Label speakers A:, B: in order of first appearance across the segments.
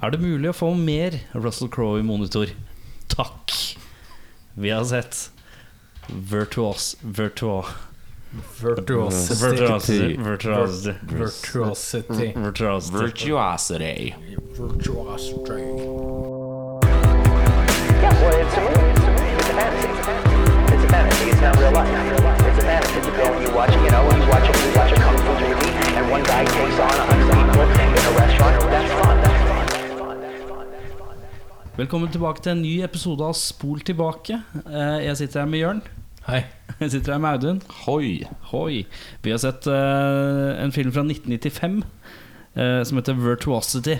A: Er det mulig å få mer Russell Crowe i monitor? Takk! Vi har sett Virtuos... Virtua... Virtuosity. Virtuosity.
B: Virtuosity.
A: Virtuosity.
C: Virtuosity.
B: Virtuosity.
D: Yeah, well, it's a movie. It's a movie. It's a fantasy. It's a fantasy. It's not real life. It's a fantasy. You go and you watch, you know, you watch, you watch a kung fu movie, and one guy takes on a hundred people in a restaurant. That's fun. That's fun. That's fun. That's fun. That's fun. That's fun.
A: Velkommen tilbake til en ny episode av Spol tilbake. Eh, Jeg sitter her med Jørn.
B: Hei.
A: Jeg sitter her med Audun.
C: Hoi.
A: Hoi. Vi har sett eh, en film fra 1995 eh, som heter Virtuosity,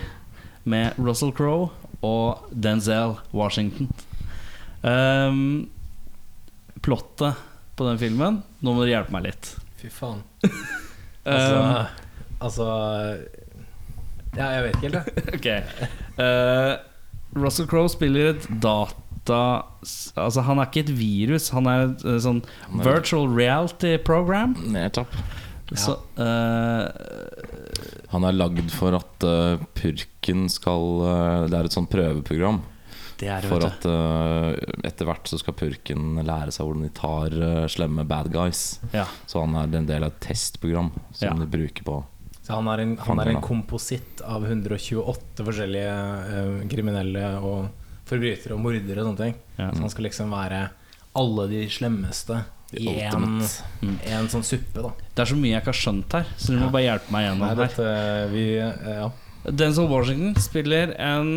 A: med Russell Crowe og Denzel Washington. Um, plottet på den filmen Nå må dere hjelpe meg litt.
B: Fy faen.
A: Um,
B: Altså, altså Ja, jeg vet ikke helt, jeg.
A: Ehm, Ok Eh, Russell Crowe spiller et data... Altså, han er ikke et virus, han er et eh, sånn virtual reality program.
C: Nettopp.
A: Så, eh,
C: Han er lagd for at eh, purken skal eh, Det er et sånt prøveprogram.
A: det er det,
C: For
A: vet du.
C: at eh, etter hvert så skal purken lære seg hvordan de tar eh, slemme bad guys.
A: Ja.
C: Så han er en del av et testprogram som
A: Ja.
C: de bruker på
B: Så han er en, han er en kompositt av 128 forskjellige eh, kriminelle og forbrytere og mordere og sånne ting.
A: Ja.
B: Så han skal liksom være alle de slemmeste
C: The
B: i en,
C: ultimate.
B: en sånn suppe, da.
A: Det er så mye jeg ikke har skjønt her, så dere må bare hjelpe meg
B: Nei,
C: Mm.
A: gjennom her.
B: dette Vi eh, Ja.
A: Denzel Washington spiller en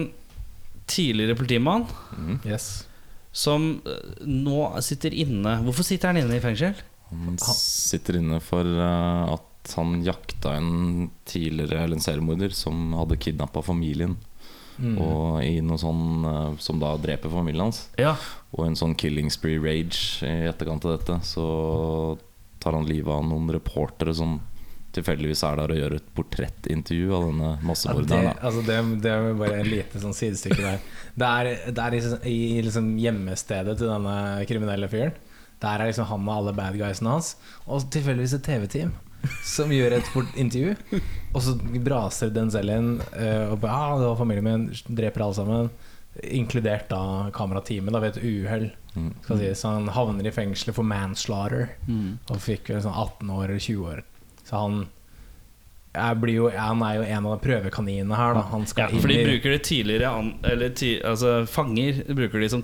A: tidligere politimann
C: Mm.
B: Yes.
A: som eh, nå sitter inne Hvorfor sitter han inne i fengsel?
C: Han sitter inne for eh, at han jakta en tidligere eller en seriemorder som hadde kidnappa familien.
B: Mm.
A: Mm.
C: Og i noe sånn eh, som da dreper familien hans.
A: Ja.
C: Og en sånn killing spree rage i etterkant av dette, så tar han livet av noen reportere som tilfeldigvis er der og gjør et portrettintervju av denne
B: Ja, det,
C: massemorderen. da.
B: altså det, det er jo bare en lite sånn sidestykke der. Det er, det er liksom, i liksom hjemmestedet til denne kriminelle fyren. Der er liksom han og alle bad guysene hans. Og tilfeldigvis et TV-team som gjør et fort intervju. Og så braser Denzel inn eh, og bare, ah, det var familien min, dreper alle sammen. Inkludert da kamerateamet da, ved et uhell. skal sies. Så han havner i fengselet for manslaughter. Og fikk vel sånn 18 år eller 20 år. Så han jeg blir jo, han er jo en av prøvekaninene her, da. Han
A: Ja,
B: skal
A: for de
B: inn i
A: bruker de tidligere an, eller ti, altså fanger bruker de som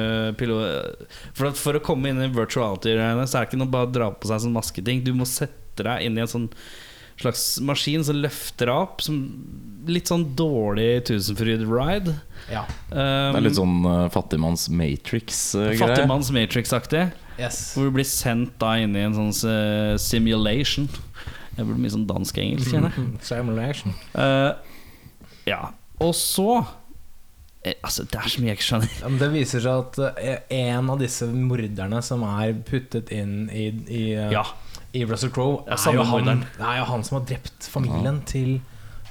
A: testpilot For, at for å komme inn i virtuality-greiene, så er det ikke noe bare å dra på seg sånn masketing. Du må sette deg inn i en sånn slags maskin som løfter deg opp. Som litt sånn dårlig Tusenfryd-ride.
B: Ja.
C: Det er litt sånn eh, fattigmanns Matrix-greie.
A: um, Fattigmanns Matrix-aktig.
B: Yes.
A: Hvor du blir sendt da inn i en sånn eh, simulation. Det blir mye sånn dansk-engelsk, kjenner jeg.
B: Simulation.
A: Eh, ja. Og så eh, Altså, det er så mye jeg ikke skjønner.
B: Ja, men Det viser seg at eh, en av disse morderne som er puttet inn i, i, eh,
A: Ja.
B: i Russell Crowe,
A: Ja,
B: er,
A: samme
B: jo han-
A: morderen.
B: det er jo han som har drept familien til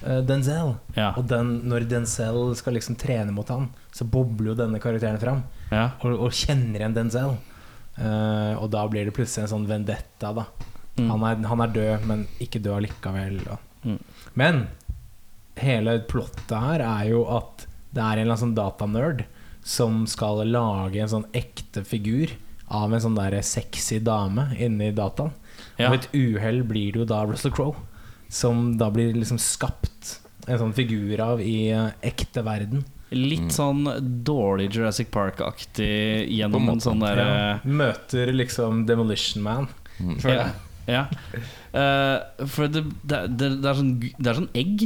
B: eh, Denzel.
A: Ja.
B: Og den, når Denzel skal liksom trene mot han, så bobler jo denne karakteren fram.
A: ja.
B: Og, og kjenner igjen Denzel. Eh, og da blir det plutselig en sånn vendetta, da. Han, er, han er død, men ikke død allikevel. Og. Men hele plottet her er jo at det er en eller annen sånn datanerd som skal lage en sånn ekte figur av en sånn der sexy dame inni dataen.
A: Ja.
B: Og ved et uhell blir det jo da Russell Crowe, som da blir liksom skapt en sånn figur av i eh, ekte verden.
A: Litt sånn dårlig Jurassic Park-aktig
C: På en
A: gjennom en
C: måte.
A: sånn derre
B: Ja. eh, Møter liksom Demolition Man.
C: Mm.
B: Føler
A: ja.
B: jeg.
A: ja. Eh, for det, det, det, det, er sånn, gu- det er sånn egg.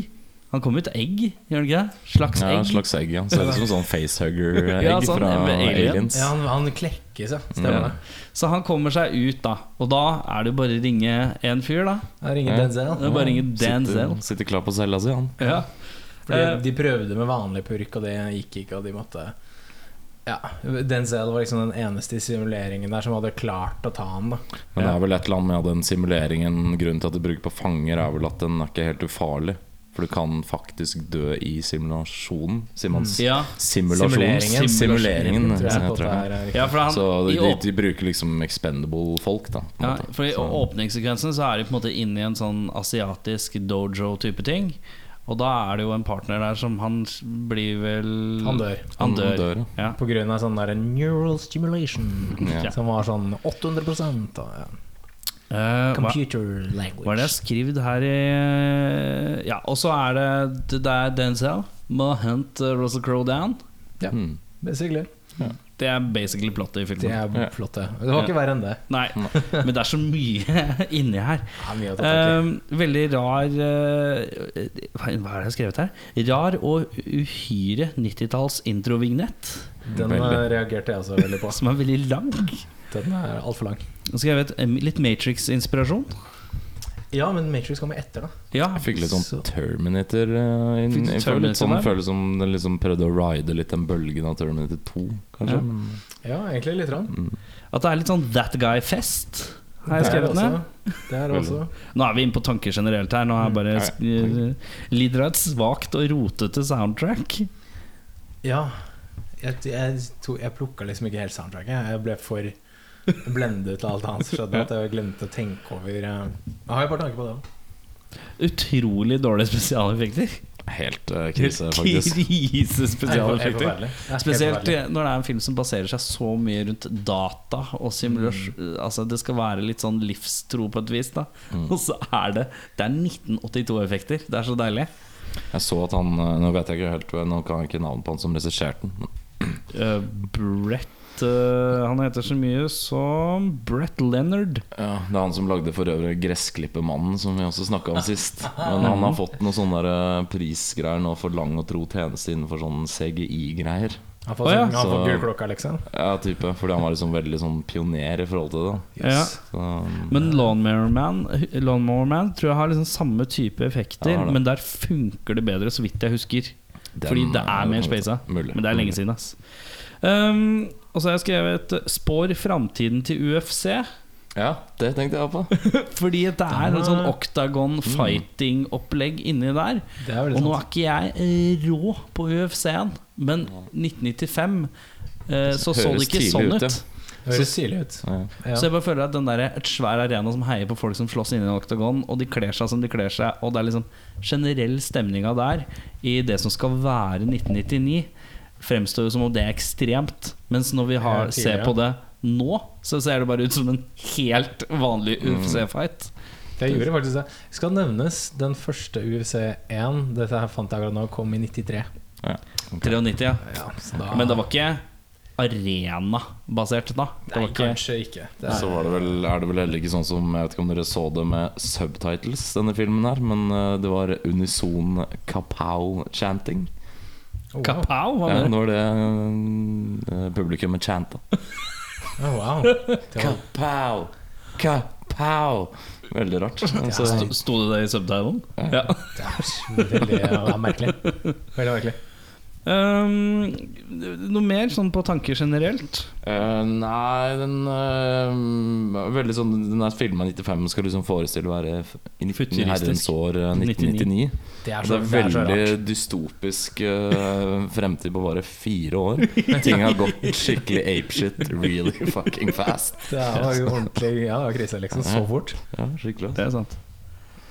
A: Han kommer ut av egg, gjør han ikke det? Slags
C: Ja,
A: egg.
C: et slags egg. Ja. Ser ut som sånn facehugger-egg
A: Ja, sånn,
C: fra
A: med alien.
C: Aliens.
B: Ja, han, han klekkes, ja. Stemmer
C: Ja.
B: det.
A: Så han kommer seg ut, da. Og da er det jo bare å ringe en fyr, da.
B: Han ringer
C: Ja.
A: Det
B: Denzel.
A: er bare å ringe
C: Sitter,
A: Denzel.
C: sitter klar på cella si, han.
A: Ja.
B: Fordi
A: Eh.
B: de prøvde med vanlig purk, og det gikk ikke, og de måtte Ja. Denzel var liksom den eneste i simuleringen der som hadde klart å ta han, da.
C: Men det er vel et eller annet med den simuleringen Grunnen til at de bruker på fanger er vel at den er ikke helt ufarlig For du kan faktisk dø i simulasjonen Simons
A: Mm. Ja.
C: Simulasjon
B: Simuleringen. Tror
C: Simuleringen
B: jeg,
C: jeg
B: på
C: tror
B: at det
C: jeg.
B: er, eh,
A: ja, for han
C: Så de,
A: i
C: de,
A: åp-
C: de bruker liksom expendable folk da på en
A: Ja,
C: måte.
A: for I
C: Så-
A: åpningssekvensen så er de på en måte inne i en sånn asiatisk dojo-type ting. Og da er det jo en partner der som han s- blir vel
B: Han dør.
A: Han dør.
C: Han dør,
A: ja.
B: På grunn av sånn der neural stimulation,
C: Ja.
B: som var sånn 800 og, ja.
A: Eh, hva,
B: Computer language.
A: hva er det jeg har skrevet her i eh, Ja, og så er det Det er Denzel. Må hente Russell Crowe down.
B: Ja,
C: Mm.
B: basically.
A: Det er basically plottet i filmen.
B: Det er
C: Ja.
B: flott, det. Det var ikke verre enn det.
A: Nei, men det er så mye inni her.
B: Ja, mye å ta tak i.
A: Eh, veldig rar eh, Hva hva er det jeg har skrevet her? Rar og uhyre 90-talls introvignett.
B: Den
C: Veldig.
B: eh, reagerte jeg også veldig på.
A: Som er veldig lang.
B: Den er altfor lang.
A: Og skrevet eh, litt Matrix-inspirasjon.
B: Ja, men Matrix kommer etter, da.
A: Ja,
C: Jeg fikk litt sånn
B: Så-
C: Terminator uh, inn,
A: Fikk du
C: jeg føler litt
A: Terminator
C: sånn,
A: der?
C: Føles som den liksom prøvde å ride litt den bølgen av Terminator 2, kanskje.
A: Ja.
C: Men,
B: Mm. Ja, egentlig litt. Rann.
A: At det er litt sånn That Guy-fest. Har jeg
B: Det er
A: skrevet ned.
B: også- Det er også.
A: Nå er vi inne på tanker generelt her. Nå er jeg bare
C: Ja, ja.
A: sk- Lider av et svakt og rotete soundtrack.
B: Ja. Jeg, jeg, to- jeg plukka liksom ikke helt soundtracket. Jeg ble for blendet av alt annet som skjedde, at jeg glemte å tenke over eh, Jeg har jo et par tanker på det òg.
A: Utrolig dårlige spesialeffekter.
C: helt eh, krise, faktisk.
A: Krisespesialeffekter. Spesielt når det er en film som baserer seg så mye rundt data og simulasjon.
C: Mm.
A: Altså Det skal være litt sånn livstro på et vis. da Og så er det Det er 1982-effekter. Det er så deilig.
C: Jeg så at han eh, Nå vet jeg ikke helt Nå kan jeg ikke navnet på han som regisserte den. men-
A: Eh, Brett eh, Han heter så mye som Brett Leonard.
C: Ja, det er han som lagde for øvrig 'Gressklippermannen', som vi også snakka om sist. Men han har fått noen sånne der, eh, prisgreier nå for lang og tro tjeneste innenfor sånn CGI-greier.
B: Han får,
A: eh, Å, ja.
B: sånn- han får
C: Så-
B: gullklokka, liksom.
C: Ja, type, Fordi han var liksom veldig sånn pioner i forhold til det.
A: Ja.
C: Så, um,
A: Men Lawnmower Man, Lawnmower Man tror jeg har liksom samme type effekter,
C: Ja, har det.
A: men der funker det bedre, så vidt jeg husker.
C: den-
A: Fordi det er mer spaisa.
C: Mulig.
A: Men det er lenge
C: Mm.
A: siden, ass. Um, og så har jeg skrevet eh, 'Spår framtiden til UFC'.
C: Ja, det tenkte jeg på.
A: Fordi at det er en sånn octagon fighting-opplegg inni der.
B: Det Mm. er
A: Og
B: veldig
A: nå
B: sant.
A: er ikke jeg eh, rå på UFC-en, men 1995 eh, så så det
C: Høres
A: ikke
C: tidlig
A: sånn ut.
C: ut, ja.
B: Det høres stilig ut.
C: Ja.
B: Ja.
A: Så jeg bare føler at den der et svær arena som heier på folk som slåss inni en oktagon, og de kler seg som de kler seg, og det er liksom generell stemninga der, i det som skal være 1999, fremstår jo som om det er ekstremt. Mens når vi
B: Ja,
A: har, ser
B: tidligere.
A: på det nå, så ser det bare ut som en helt vanlig
B: Mm.
A: UFC-fight.
B: Det gjorde faktisk det. Skal nevnes den første UFC1, dette her fant jeg akkurat nå, kom i 93.
C: Ja.
A: 93, ja.
B: Ja, så da,
A: Men det var ikke arena-basert da. Det
B: Nei,
A: var ikke
B: kanskje ikke. Det
C: Så var det vel, er det vel heller ikke sånn som Jeg vet ikke om dere så det med subtitles, denne filmen her, men eh, det var unison kapow-chanting.
B: oh, wow.
A: Kapow, hva mener
C: Ja, det
A: du?
C: var det eh, publikummet chanta.
B: Oh, wow. Det var,
C: Kapow! Kapow! Veldig rart. Så,
B: Ja.
A: Sto- Sto det det i subtitlen? Ja.
B: det er veldig ja, merkelig. Veldig merkelig.
A: Um, noe mer sånn på tanker generelt?
C: eh, nei, den eh, Veldig sånn Den er filma i 95, skal liksom forestille å være f- i 19
A: Futuristisk.
C: herrens år eh, 1999.
B: Det er
C: Det
B: så, det er
C: er
B: så
C: veldig
B: rart.
C: dystopisk eh, fremtid på bare fire år. Ting har gått skikkelig apeshit really fucking fast.
B: Det var jo ordentlig ja, det var krise, liksom. Så fort.
C: Ja, skikkelig.
A: Det er sant.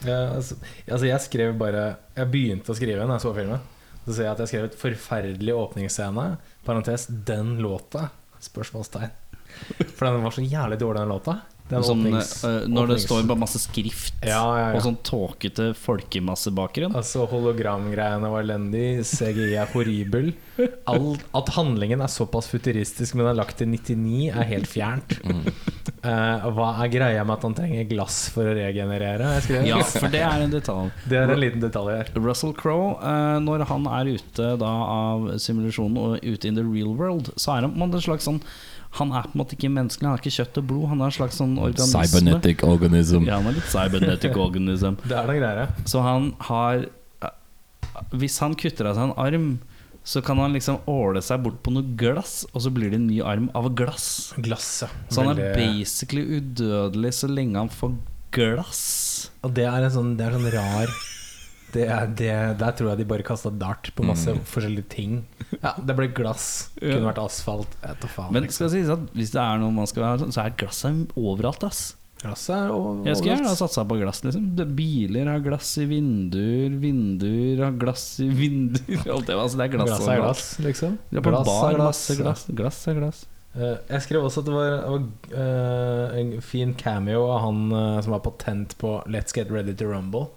B: Ja, altså, altså, jeg skrev bare Jeg begynte å skrive når jeg så filmen. Så ser jeg at jeg skrev et forferdelig åpningsscene. Parentes 'den låta'? Spørsmålstegn. For den var så jævlig dårlig, den låta. Den
A: Sånn,
B: åpnings-
A: eh, når det
B: åpnings-
A: står bare masse skrift
B: Ja, ja, ja.
A: og sånn tåkete folkemassebakgrunn.
B: Altså Hologramgreiene var elendig, CGI er horribel. All, at handlingen er såpass futuristisk, men er lagt til 99, er helt fjernt.
A: Mm.
B: Eh, hva er greia med at han trenger glass for å regenerere? Jeg skrev.
A: Ja, for det er en detalj.
B: Det er en liten detalj her.
A: Russell Crowe, eh, når han er ute da av simulasjonen og ute in the real world, så er han på en måte en slags sånn Han er på en måte ikke menneskelig, han har ikke kjøtt og blod, han er en slags sånn organisme.
C: organism.
A: Ja, han er litt cybernetic organism.
B: Det er den greia.
A: Så han har eh, Hvis han kutter av seg en arm, så kan han liksom åle seg bort på noe glass, og så blir det en ny arm av glass.
B: Glasset.
A: Så han er
B: Veldig-
A: basically udødelig så lenge han får glass.
B: Og det er en sånn, det er sånn rar det er, det, Der tror jeg de bare kasta dart på masse forskjellige ting. Ja, Det ble glass.
A: Mm. Ja.
B: Kunne vært asfalt. Jeg vet da faen. liksom.
A: Men det skal sies at hvis det er noe man skal ha, så er glasset overalt, ass.
B: Glass er over-
A: Jeg skulle gjerne ha
B: overalt.
A: satsa på glass. Liksom. Det- Biler har glass i vinduer, vinduer har glass i vinduer Alt det, altså, det er glass.
B: Glass er
A: overalt.
B: glass, liksom.
A: Det er på
B: Glass
A: bar,
B: er glass.
A: masse glass. Glass er glass.
B: Eh, jeg skrev også at det var, det var eh, en fin cameo av han eh, som har patent på 'Let's Get Ready to Rumble'.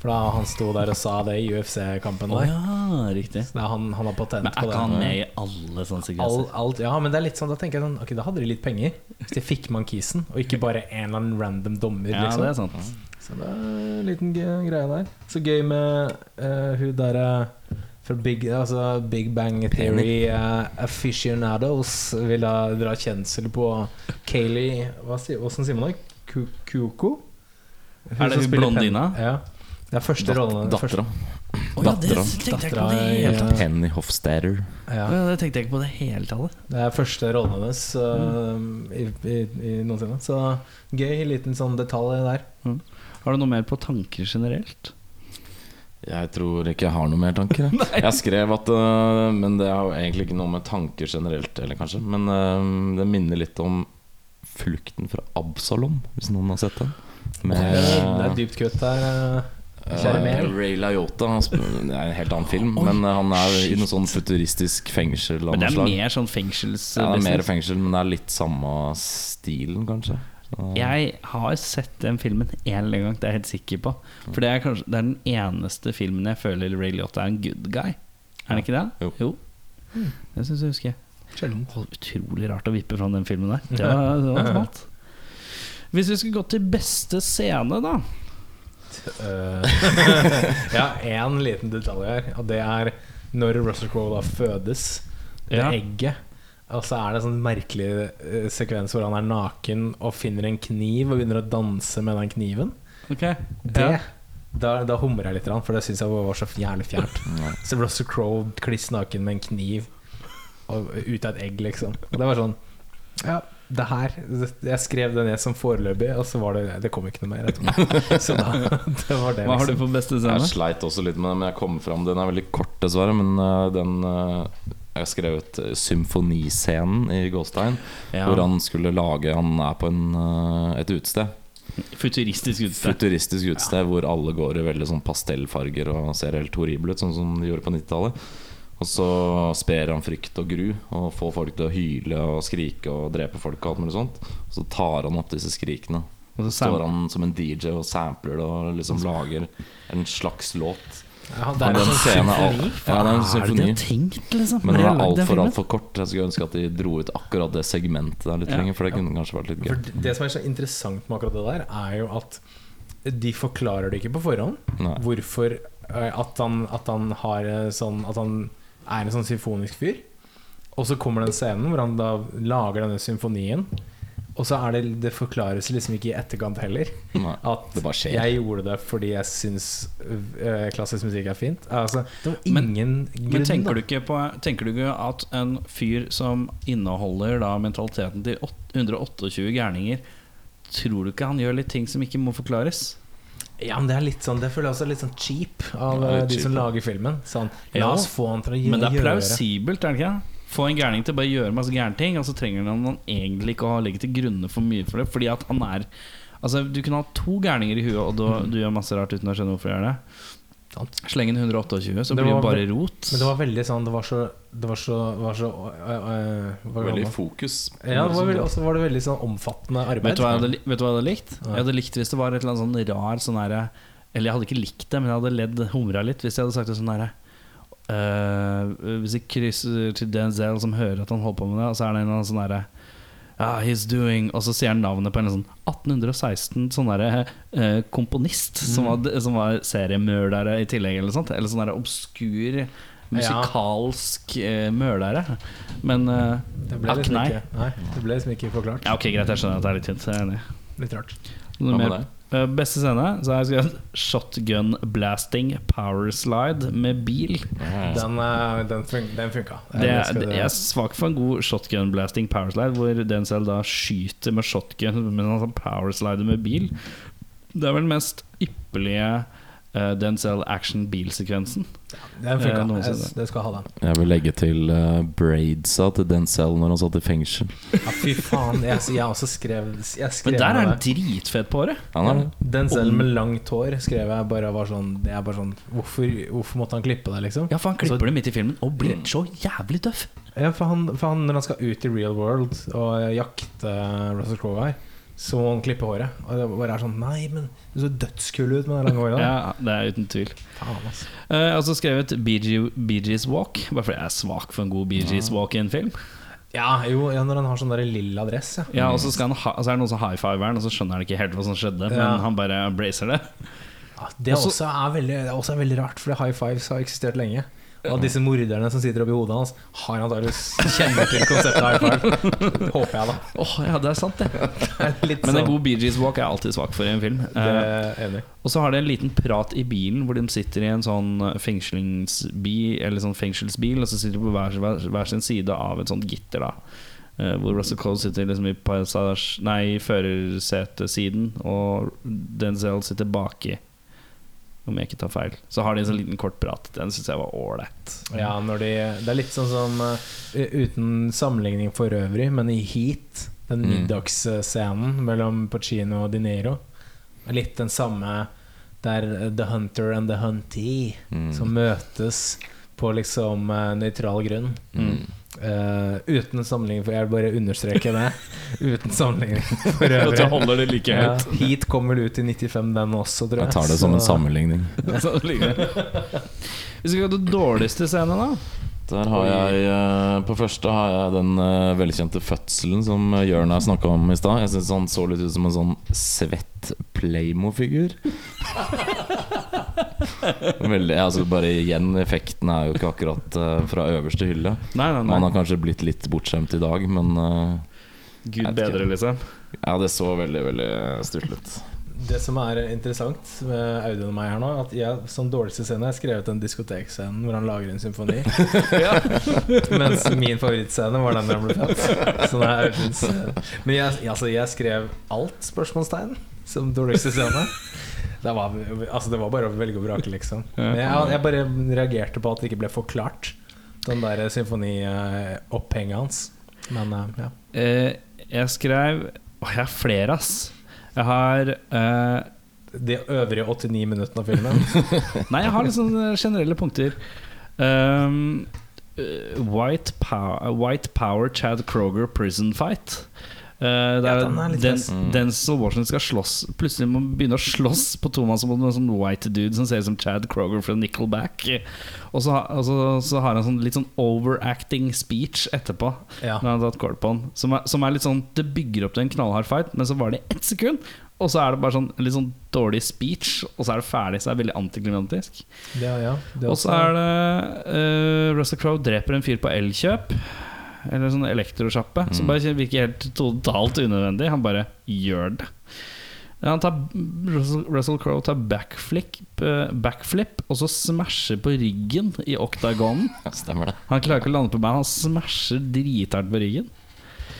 B: For da han sto der og sa det i UFC-kampen. der.
A: ja, riktig.
B: Så det er han, han har patent
A: Men er
B: på det.
A: ikke han med i alle sånne sekvenser?
B: All, alt, ja, men det er litt sånn, da tenker jeg sånn Ok, da hadde de litt penger. Hvis de fikk Mankisen, og ikke bare en eller annen random dommer.
A: Ja,
B: liksom.
A: det er sant.
B: Så det er en liten g- greie der. Så gøy med eh, hun derre fra Big, altså Big Bang Theory eh, Aficionados vil da dra kjensel på Kayleigh Hva sier, hvordan sier man det? Ku- Kuko?
A: Er det
B: som
A: hun
B: spiller Pen-
A: blondina?
B: Ja. Det er første rollen
C: Dat dattera.
A: Å ja, det
C: Dattera.
A: tenkte jeg ikke
B: Dattera
A: på det
B: i-
A: hele tatt.
C: Penny Hofstadter.
B: Ja.
A: Å Ja, det tenkte jeg ikke på det hele tatt.
B: Det er første rollen hennes øh,
A: Mm.
B: i, i, i noensinne. Så gøy liten sånn detalj der.
A: Har du noe mer på tanker generelt?
C: Jeg tror ikke jeg har noe mer tanker. jeg. jeg skrev at øh, Men det har jo egentlig ikke noe med tanker generelt Eller kanskje Men øh, det minner litt om Flukten fra Absalom, hvis noen har sett den.
B: Det er et
C: Med
B: dypt kutt der. øh. Kjære
C: uh,
B: Mel.
C: Ray Liotta. Han sp- Det er en helt annen film, men øh, han er i noe sånn futuristisk fengsel. av
A: Men det
C: noe
A: er
C: slag.
A: mer sånn fengsels...
C: ja, det er mer
A: business.
C: fengsel, men det er litt samme stilen, kanskje. Så-
A: Jeg har sett den filmen én eller gang, det er jeg helt sikker på. For det er, kanskje, det er den eneste filmen jeg føler Ray Liotta er en good guy. Er han ikke det?
C: Jo.
A: Det syns jeg husker. Å, Utrolig rart å vippe fram den filmen der. Det var, det var smalt. Hvis vi skulle gått til beste scene, da.
B: Øh, Eh, ja, én liten detalj her, og det er når Russell Crowe da fødes. Det
A: Ja.
B: egget. Og så er det en sånn merkelig øh, sekvens hvor han er naken og finner en kniv og begynner å danse med den kniven. Det,
A: Ja.
B: Da, da humrer jeg litt, grann, for det syns jeg var så jævlig fjernt. Så Russell Crowe kliss naken med en kniv og ut av et egg, liksom. Og det var sånn Ja, det her det- Jeg skrev det ned som foreløpig, og så var det Det kom ikke noe mer. etterpå. Så da Det var det,
A: Hva har du
B: liksom.
A: på beste
C: Jeg
A: scene?
C: sleit også litt med den, men jeg kom fram. Den er veldig kort, dessverre. Men øh, den øh, Jeg har skrevet øh, symfoniscenen i Gåstein. Hvor han skulle lage Han er på en, øh, et utested.
A: Futuristisk utstyr.
C: Futuristisk utested hvor alle går i veldig sånn pastellfarger og ser helt horrible ut, sånn som de gjorde på 90-tallet. Og så sper han frykt og gru og får folk til å hyle og skrike og drepe folk. Og alt mulig sånt Og så tar han opp disse skrikene.
A: Og så
C: Så står han som en DJ og sampler det og liksom lager en slags låt.
B: Ja, det er
C: Men
B: en
C: den
B: sånn
C: scenen er
B: symfoni.
C: alt- Ja, det er
A: Hva er
C: en
A: det de
C: symfoni.
A: har tenkt, liksom?
C: Men den
A: når de
C: er
A: har lagd den
C: altfor
A: filmen?
C: altfor kort. Jeg skulle ønske at de dro ut akkurat det segmentet der litt
A: Ja.
C: lenger, for det kunne kanskje vært litt gøy.
B: For det- det som er så interessant med akkurat det der, er jo at de forklarer det ikke på forhånd.
C: Nei.
B: Hvorfor eh, at han, at han har eh, sånn At han er en sånn symfonisk fyr. Og så kommer den scenen hvor han da lager denne symfonien. Og så er det Det forklares liksom ikke i etterkant heller.
C: Nei.
B: At
C: Det bare skjer.
B: jeg gjorde det fordi jeg syns eh, klassisk musikk er fint. Altså, det var
A: Men-
B: ingen grunn.
A: Men tenker du,
B: da.
A: ikke på, tenker du ikke at en fyr som inneholder da mentaliteten til åt- 128 gærninger, tror du ikke han gjør litt ting som ikke må forklares?
B: Ja, men Det er litt sånn Det føler jeg også er litt sånn cheap av
C: Ja,
B: eh,
C: litt
B: de
C: cheap,
B: som
C: ja.
B: lager filmen. Sånn, La
A: Ja,
B: oss få han til å gjøre
A: Men det er plausibelt, er det ikke? det? Få en gærning til å bare gjøre masse gærne ting, og så trenger han han egentlig ikke å legge til grunne for mye for det. Fordi at han er Altså, du kunne ha to gærninger i huet, og du, du gjør masse rart uten å skjønne hvorfor du gjør det.
B: Sant.
A: Sleng inn 128, så
B: Det
A: blir det
B: var
A: bare rot.
B: Men det var veldig sånn Det var så Det var så, var så øh, øh, hva kaller
C: Veldig
B: man det?
C: fokus.
B: Ja, det var veldig, også var det veldig sånn omfattende
A: Vet
B: arbeid.
A: du, hva jeg hadde, li- vet du hva jeg hadde likt?
B: Nei.
A: Jeg hadde likt hvis det var et eller annet sånn rar sånn herre Eller jeg hadde ikke likt det, men jeg hadde ledd humra litt hvis jeg hadde sagt det sånn herre eh, Hvis jeg krysser til Denzel som hører at han holder på med det, og så er det en eller annen sånn herre ah, he's doing Og så sier han navnet på en sånn 1816 sånn derre eh, komponist som
C: Mm.
A: var, som var seriemørdere i tillegg, eller sånt. Eller sånn derre obskur musikalsk eh, mølere. Men eh,
B: Det ble
A: akk
B: liksom
A: nei.
B: ikke, nei, det ble liksom ikke forklart.
A: Ja, ok, greit, jeg skjønner at det er litt tynt. Jeg er enig.
B: Litt rart.
A: Noe
C: Hva med
A: mer? Eh, beste scene så har jeg skrevet 'Shotgun Blasting Power Slide med bil'.
B: Den, øh, den, fun den funka.
A: Det, er- det, jeg er svak for en god shotgun blasting power slide, hvor Denzel da skyter med altså shotgun, men han sånn power slider med bil. Det er vel den mest ypperlige eh, Denzel action-bilsekvensen.
B: Den
A: Eh,
B: funka.
A: noen
B: Jeg-
A: sier det.
B: det skal ha den.
C: Jeg vil legge til eh, braidsa til Denzel når han satt i fengsel.
B: Ja, fy faen. Jeg, jeg også skrev, jeg skrev
A: Men der er
B: ned
A: han dritfet på håret.
C: Han er det.
B: Denzel med langt hår skrev jeg bare var sånn, jeg er bare sånn hvorfor, hvorfor måtte han klippe det, liksom?
A: Ja, for han klipper det midt i filmen og blir så jævlig tøff.
B: Ja, for han, for han, når han skal ut i real world og eh, jakte Russell Crowe her, så må han klippe håret. Og det bare er sånn Nei, men du så dødskul ut med det lange håret. der."
A: Ja, Det er uten tvil.
B: Faen, ass.
A: Eh, altså skrevet BG, BG's Walk, bare fordi jeg er svak for en god BG's Walk i en film.
B: ja, jo, ja, når han har sånn der lilla dress, ja.
A: Ja, og så, skal han ha, så er det noen som high fiver han, og så skjønner han ikke helt hva som skjedde,
B: Ja.
A: men han bare embracer det.
B: Ja, Ah, Det
A: Også-
B: også er veldig, det er også veldig rart, for high fives har eksistert lenge. Og disse morderne som sitter oppi hodet hans, har antakeligvis kjenner til konseptet high five. Håper jeg, da.
A: Åh, ja, det er sant, det.
B: Det er Litt
A: Men en
B: sånn-
A: god BG's Walk er jeg alltid svak for i en film.
B: Det
A: Eh,
B: er jeg enig. i.
A: Og så har de en liten prat i bilen hvor de sitter i en sånn fengslingsbil, eller sånn fengselsbil, og så sitter de på hver, hver, hver sin side av et sånt gitter, da. Eh, hvor Russell Cole sitter liksom i passasj... Nei, i førersetesiden, og Denzel sitter baki. Om jeg ikke tar feil. Så har de en sånn liten kort prat. Den syns jeg var ålreit.
B: Ja, når de, det er litt sånn som eh, Uten sammenligning for øvrig, men i Heat, den
C: Mm.
B: middagsscenen mellom Pacino og De Niro, er litt den samme der eh, The Hunter and The Huntee
C: Mm.
B: som møtes på liksom eh, nøytral grunn.
C: Mm.
B: Eh, uten sammenligning for Jeg vil bare understreke det. Uten sammenligning for
A: At du
B: øvrig.
A: holder det like
B: Ja,
A: høyt.
B: Heat kom vel ut i 95, den også, tror jeg.
C: Jeg tar det som en
B: Så-
C: sammenligning.
A: Så det ligger det. Hvis vi skal til dårligste scene, da?
C: Der har jeg, eh, På første har jeg den eh, velkjente fødselen som eh, Jørn har snakka om i stad. Jeg syns han så litt ut som en sånn svett Playmo-figur. Veldig, altså bare igjen, Effekten er jo ikke akkurat eh, fra øverste hylle.
A: Nei, nei,
C: Han
A: nei.
C: har kanskje blitt litt bortskjemt i dag, men eh,
A: Gud bedre, liksom.
C: ja, det så veldig veldig stusslig ut.
B: Det som er interessant med Audun og meg her nå, at jeg som dårligste scene har skrevet den diskotekscenen hvor han lager en symfoni. Mens min favorittscene var den der han ble født. Så det er Audun's eh, Men jeg, altså, jeg skrev alt spørsmålstegn som dårligste scene. Det var, altså, det var bare å velge og vrake, liksom. Men jeg, jeg bare reagerte på at det ikke ble forklart, den der symfoniopphenget hans. Men eh, ja.
A: Eh, jeg skrev Åh, jeg har flere, ass. Jeg har eh,
B: De øvrige 89 minuttene av filmen
A: Nei, jeg har litt sånne generelle punkter. Um, eh, White, power, White Power Chad Kroger Prison Fight. Eh, det
B: Ja,
A: er,
B: den er litt
A: den,
B: fest.
C: Mm.
A: Denzel Washington skal slåss Plutselig må han begynne å slåss på tomannshånd mot en sånn white dude som ser ut som Chad Kroger fra Nickelback. Og så, ha- og så, så har han sånn litt sånn overacting speech etterpå.
B: Ja.
A: Når han har tatt kål på han som er, som er litt sånn Det bygger opp til en knallhard fight, men så var det ett sekund. Og så er det bare sånn litt sånn dårlig speech, og så er det ferdig. Så er det veldig antiklimatisk.
B: Det, ja, det
A: Og så er det eh, Russell Crowe dreper en fyr på Elkjøp. Eller sånn elektrosjappe.
B: Mm.
A: Som bare virker helt totalt unødvendig. Han bare gjør det. Han tar, Russell, Russell Crowe tar backflip, eh, backflip, og så smasher på ryggen i oktagonen.
C: Stemmer det.
A: Han klarer ikke å lande på beina, han smasher drithardt på ryggen.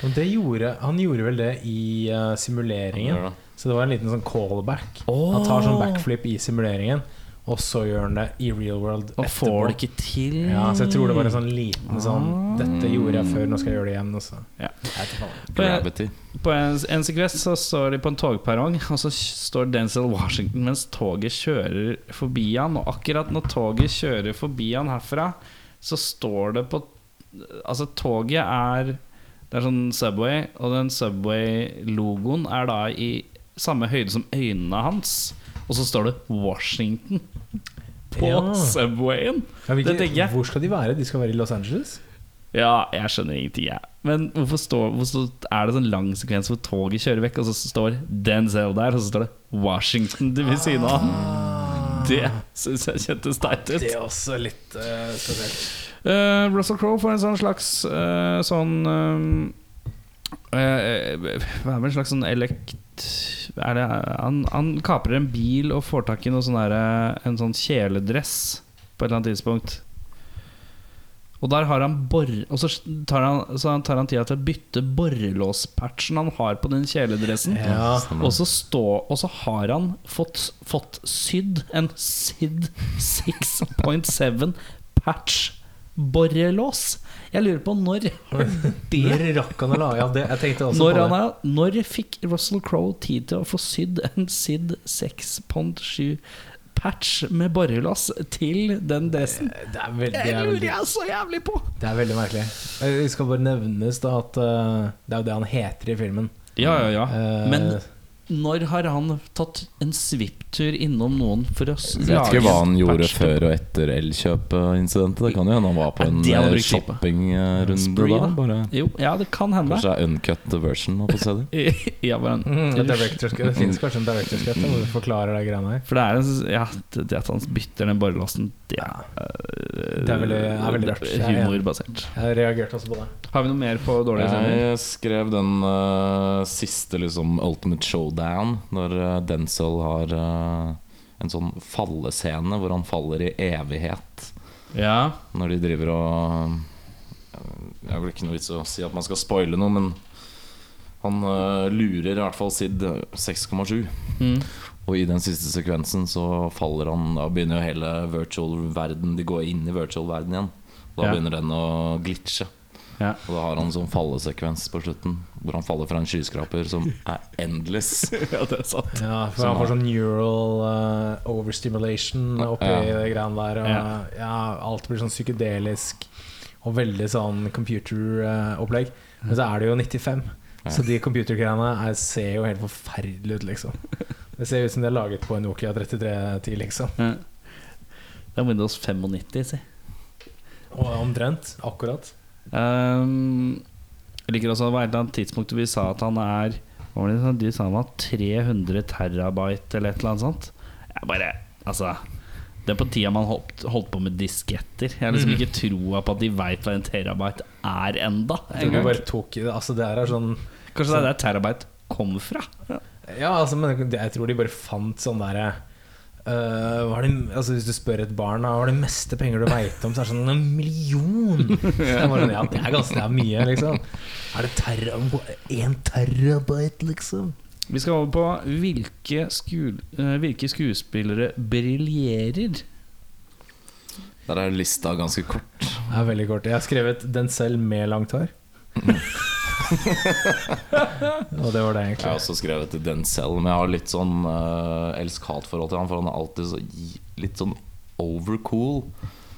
B: Men det gjorde, han gjorde vel det i eh, simuleringen.
C: Han gjør det.
B: Så det var en liten sånn callback. Han tar sånn backflip i simuleringen, og så gjør han det i real world
A: Og får det ikke til.
B: Ja, så jeg tror det var en sånn liten sånn Dette gjorde jeg før, nå skal jeg gjøre det igjen. Og så.
A: Ja.
B: Jeg vet ikke faen.
A: På en,
C: Gravity.
A: på en, en sekvens så står de på en togperrong, og så står Denzel Washington mens toget kjører forbi han. Og akkurat når toget kjører forbi han herfra, så står det på Altså, toget er Det er sånn Subway, og den Subway-logoen er da i samme høyde som øynene hans. Og så står det 'Washington' på
B: Ja.
A: Subwayen.
B: Jeg vet
A: Det
B: ikke,
A: tenker jeg.
B: Hvor skal de være? De skal være i Los Angeles?
A: Ja, jeg skjønner ingenting, jeg. Men hvorfor, står, hvorfor står- er det sånn lang sekvens hvor toget kjører vekk, og så står Denzel der, og så står det Washington ved siden av? Det syns jeg kjentes teit ut.
B: Det er også litt eh, spesielt.
A: Eh, Russell Crowe får en sånn slags eh, sånn eh, eh, Hva er det en slags sånn elekt... Er det, han, han kaprer en bil og får eh, tak i noe sånn derre- en sånn kjeledress på et eller annet tidspunkt. Og der har han borre Og så tar han, så han tar han tida til å bytte borrelåspatchen han har på den kjeledressen.
B: Ja.
A: Og så, stå, og så har han fått, fått sydd en SID 6.7 patch borrelås. Jeg lurer på når har
B: Når rakk han å lage av det? Jeg tenkte også
A: når,
B: på
A: han
B: det.
A: er, når fikk Russell Crowe tid til å få sydd en SID 6.7 patch med borrelås til den dressen?
B: Det er veldig, det
A: Det
B: er
A: lurer
B: veldig,
A: jeg så jævlig på!
B: det er veldig merkelig. Eh, Det skal bare nevnes da at eh, det er jo det han heter i filmen.
A: Ja, ja, ja.
B: Eh,
A: Men når har han tatt en svipptur innom noen for å s-
C: Jeg vet ikke hva han gjorde
A: patch til-
C: før og etter elkjøpinsidentet. Det kan jo hende han var på
A: Er
C: en
A: det han
C: eh,
A: brukte tid på?
C: shoppingrunde
A: Spree,
C: da.
A: da?
C: Bare.
A: Jo, ja, det kan hende.
C: Kanskje det er uncut version. holdt på å si det.
A: ja, men,
B: Mm, det director's cut. Det finnes kanskje en director's cut da, hvor du forklarer de greiene her.
A: For det er en s- Ja, det, det at han bytter den borrelåsen, det er,
B: Det er veldig- det er
A: det
B: veldig rart. Jeg er enig.
A: Humorbasert.
B: Jeg reagerte også på det.
A: Har vi noe mer på dårlige scener?
C: Jeg skrev den eh, siste liksom Ultimate Showdown, når eh, Denzel har eh, en sånn fallescene hvor han faller i evighet.
A: Ja.
C: Når de driver og Det er vel ikke noe vits å si at man skal spoile noe, men han eh, lurer i hvert fall Sid eh, 6,7.
A: Mm.
C: Og i den siste sekvensen så faller han Da begynner jo hele virtual-verden De går inn i virtual-verden igjen. Da
A: Ja.
C: begynner den å glitche.
A: Ja.
C: Og da har han en sånn fallesekvens på slutten hvor han faller fra en skyskraper som er endless.
A: ja, det er sant.
B: Ja, for han får sånn neural eh, overstimulation oppi
C: Ja.
B: det greiene der. Og,
A: Ja.
B: ja, alt blir sånn psykedelisk og veldig sånn computer-opplegg. Men så er det jo 95, så de computergreiene er- ser jo helt forferdelige ut, liksom. Det ser ut som de er laget på en Nokia 3310, liksom.
A: Ja. Det er Windows 95, si.
B: Og omtrent. Akkurat.
A: Ehm, jeg liker også at det var et eller annet tidspunkt hvor vi sa at han er hva var det, sa- De sa han var 300 terabyte eller et eller annet sånt. Jeg bare Altså. Det er på tida man holdt, holdt på med disketter. Jeg har
B: Mm.
A: liksom ikke troa på at de veit hva en terabyte er enda.
B: Jeg tror de bare tok i det. Altså, det her er sånn
A: Kanskje det er der terabyte kommer fra?
B: Ja, altså, men det- jeg tror de bare fant sånn derre øh, hva er det, altså Hvis du spør et barn da, hva er det meste penger du veit om, så er det sånn en million! Jeg bare, ja, det er ganske det er mye, liksom. Er det terra, en terabyte, liksom?
A: Vi skal over på hvilke, sku, eh, hvilke skuespillere briljerer.
C: Der er lista ganske kort.
B: Det er veldig kort. Jeg har skrevet den selv med langt hår. Og det var
A: altså.
B: det,
C: Jeg har
B: egentlig.
C: også skrevet til Denzel, men jeg har litt sånn uh, elsk-hat-forhold til han, for han er alltid så, gi- litt sånn overcool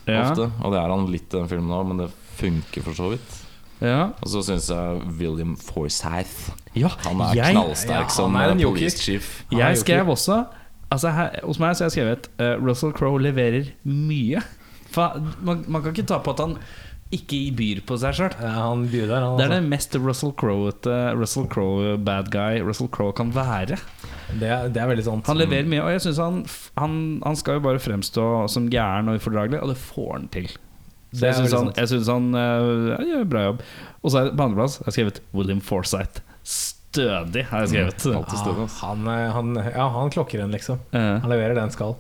C: ofte. Og det er han litt i den filmen òg, men det funker for så vidt.
A: ja.
C: Og så syns jeg William Forsythe
A: ja
C: Han er
A: jeg-
B: ja,
C: knallsterk som
B: han er en
C: eh,
B: joker.
C: police chief.
B: Han er
A: Jeg
B: jo
A: skrev
B: ikke-
A: også altså her, Hos meg så har jeg skrevet eh, Russell Crowe leverer mye. Fa, man, man kan ikke ta på at han ikke byr på seg sjøl.
B: Ja, han byr der, han.
A: Det er
B: Altså.
A: det mest Russell Crowe-ete Russell Crowe-bad guy Russell Crowe kan være.
B: Det, er, det er veldig sånn. sant.
A: Han leverer mye, og jeg synes han, han Han skal jo bare fremstå som gæren og ufordragelig, og det får han til. Så
B: Det
A: jeg
B: er
A: syns
B: veldig
A: han,
B: sant.
A: jeg synes han eh, han gjør en bra jobb. Og så er det på andreplass jeg har skrevet William Forsythe. Stødig, har jeg
B: Mm.
A: skrevet.
C: alltid stødig, ass.
B: han, eh, han, ja, han klokker en, liksom.
A: Eh,
B: Han leverer det han skal.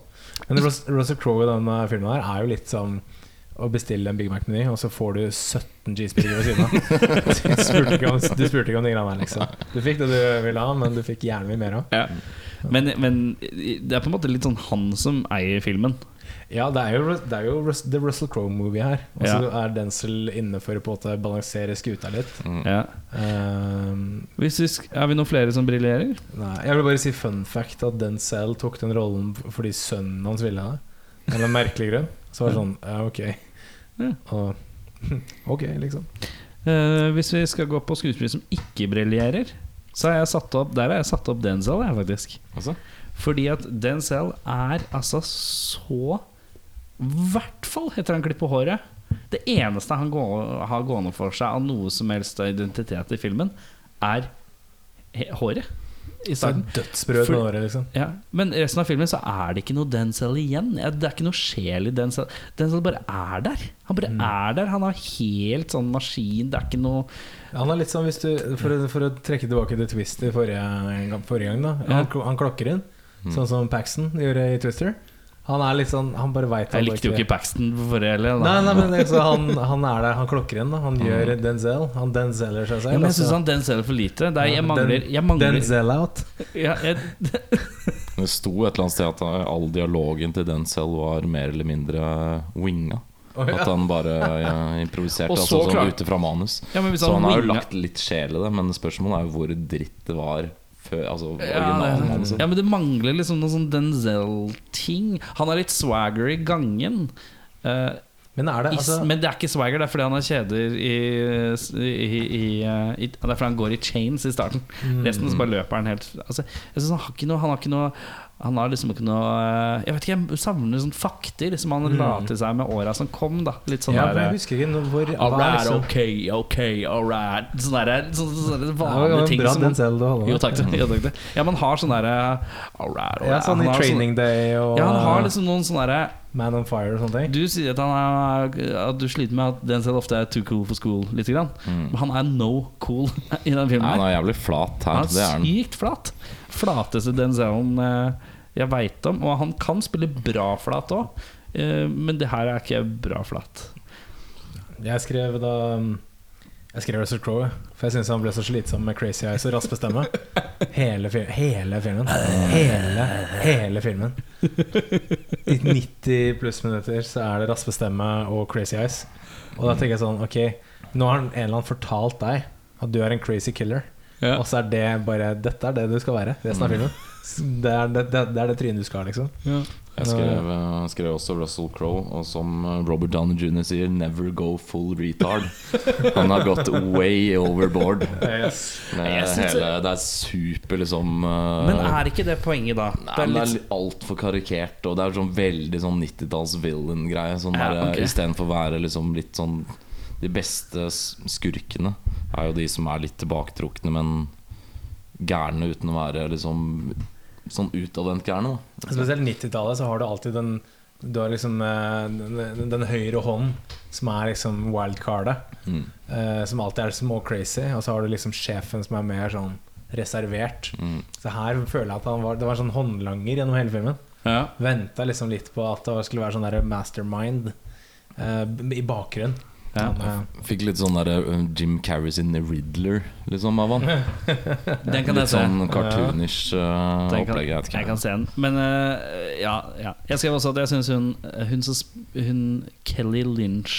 B: Men Rus- Russell Crowe i den eh, filmen her er jo litt som å bestille en Big Mac-meny, og så får du 17 cheeseburgere ved siden av. Du spurte ikke om, du spurte ikke om de greiene her, liksom. Du fikk det du ville ha, men du fikk gjerne mye mer av.
A: Ja. Men, men det er på en måte litt sånn han som eier filmen.
B: Ja, det er jo, Rus- det er jo Rus- The Russell Crowe-movie her. Og så er Denzel inne for å på en måte balansere skuta litt.
A: Ja.
B: Ehm,
A: Hvis vi sk er vi noen flere som briljerer?
B: nei, jeg vil bare si fun fact at Denzel tok den rollen f- fordi sønnen hans ville det. Av en merkelig grunn. Så var det sånn, ja, ok.
A: Ja.
B: Og ok, liksom.
A: Eh, hvis vi skal gå på skuespillere som ikke briljerer, så har jeg satt opp Der har jeg satt opp Denzel, jeg, faktisk.
C: Altså?
A: Fordi at Denzel er altså så I hvert fall heter han klipp på håret. Det eneste han gå, har gående for seg av noe som helst av identitet i filmen, er he- håret. I
B: Så er
A: starten.
B: det dødsbrød
A: For-
B: med året, liksom.
A: Ja, Men resten av filmen så er det ikke noe Denzel igjen. Ja, Det er ikke noe sjel i Denzel. Denzel bare er der. Han
C: Mm.
A: bare er der. Han har helt sånn maskin. Det er ikke noe
B: Han er litt sånn, hvis du, for, å- for å trekke tilbake til Twister forrige, gang- forrige gang, da.
A: Ja. Mm.
B: Han, klo- han klokker inn, sånn som Paxton gjorde i Twister. Han er litt sånn Han bare veit
A: Jeg likte jo ikke Paxton på forrige heller. da. Mm.
B: Nei, nei, men altså, han, han er der, han klokker inn. da. Han gjør Denzel. Han denzeler seg selv.
A: ja, men jeg
B: altså.
A: syns han den selger for lite. Det er, jeg mangler, jeg mangler
B: Denzel out.
A: ja, jeg,
C: Det sto et eller annet sted at eh, all dialogen til Denzel var mer eller mindre eh, winga. At han bare ja, improviserte
A: Og så
C: altså, sånn
A: klart-
C: ute fra manus.
A: ja, men hvis
C: Så han har jo
A: winga-
C: lagt litt sjel i det, men spørsmålet er jo hvor dritt det var før altså,
A: ja,
C: originalen.
A: det-
C: Altså.
A: ja, men det mangler liksom noen sånn Denzel-ting. Han har litt swagger i gangen. Eh,
B: Men er det
A: i-
B: altså
A: men det er ikke swagger, det er fordi han har kjeder i, i, i, eh, i Det er fordi han går i chains i starten.
B: Mm.
A: Resten så bare løper han helt altså, Jeg synes Han har ikke noe Han har ikke noe han har liksom ikke noe eh, Jeg vet ikke, jeg savner sånne fakter som han la til seg med åra som kom. da Litt sånn
B: Mm. ja, for
A: der,
B: Jeg husker ikke noe hvor hva
A: All
B: er
A: right,
B: liksom-
A: ok, ok, all right. Sånne, der, sånne, sånne
B: Det var
A: vanlige
B: en
A: ting.
B: Bra
A: som man-
B: Denzel du holder
A: jo
B: med.
A: takk, du. Jo, takk du. Ja, man har sånn derre All right, all
B: Ja,
A: right.
B: sånn
A: Han
B: i
A: har
B: Training Day
A: sånn-
B: og
A: Ja, han har liksom noen sånne derre
B: Man on Fire og sånne ting.
A: Du sier at, han er, at du sliter med at Denzel ofte er too cool for school, lite grann. Men han er no cool i den filmen. her.
C: Mm. Nei, han er jævlig flat her.
A: han
C: Det er
A: er
C: han.
A: sykt flat. Flateste Denzelen eh, jeg veit om. Og han kan spille bra flat òg, men det her er ikke bra flat.
B: Jeg skrev da um, Jeg skrev Russell Crowe, jeg. for jeg syntes han ble så slitsom med crazy eyes og raspe stemme. Hele, fi hele filmen. Hele, hele filmen. I 90 pluss minutter så er det raspe stemme og crazy eyes. Og da tenker jeg sånn Ok, nå har en eller annen fortalt deg at du er en crazy killer.
A: Ja.
B: Og så er det bare Dette er det du skal være resten av filmen. Det er det, det, det, er det trynet du skal ha, liksom.
C: Jeg skrev, eh, skrev også Russell Crowe, og som eh, Robert Downey jr. sier, 'never go full retard'. Han har gått way overboard. Det
A: Jeg
C: er,
A: synes
C: hele, det er super, liksom eh,
A: Men er ikke det poenget, da?
C: Nei,
A: Det er
C: men det
A: litt-
C: er litt altfor karikert, og det er sånn veldig sånn 90-talls villain-greie. Sånn
A: Ja,
C: der,
A: ok.
C: Istedenfor å være liksom litt sånn De beste s- skurkene er jo de som er litt tilbaketrukne, men gærne uten å være liksom sånn utadvendt gærne. da.
B: Spesielt 90-tallet så har du alltid den Du har liksom eh, den, den, den høyre hånden som er liksom wildcardet.
C: Mm.
B: eh, som alltid er småcrazy. Og så har du liksom sjefen som er mer sånn reservert.
C: Mm.
B: Så her føler jeg at han var Det var en sånn håndlanger gjennom hele filmen.
A: ja.
B: Venta liksom litt på at det skulle være sånn der mastermind eh, b- i bakgrunnen.
A: Ja.
B: Han, eh,
C: Fikk litt sånn der eh, Jim Carrey sin Riddler, liksom, av han.
A: Den kan
C: Litt
A: jeg se.
C: sånn cartoonish eh,
A: Den kan,
C: opplegg. Jeg vet
A: jeg
C: ikke.
A: kan se den. Men eh, ja, ja. Jeg skrev også at jeg syns hun, hun, som sp- hun Kelly Lynch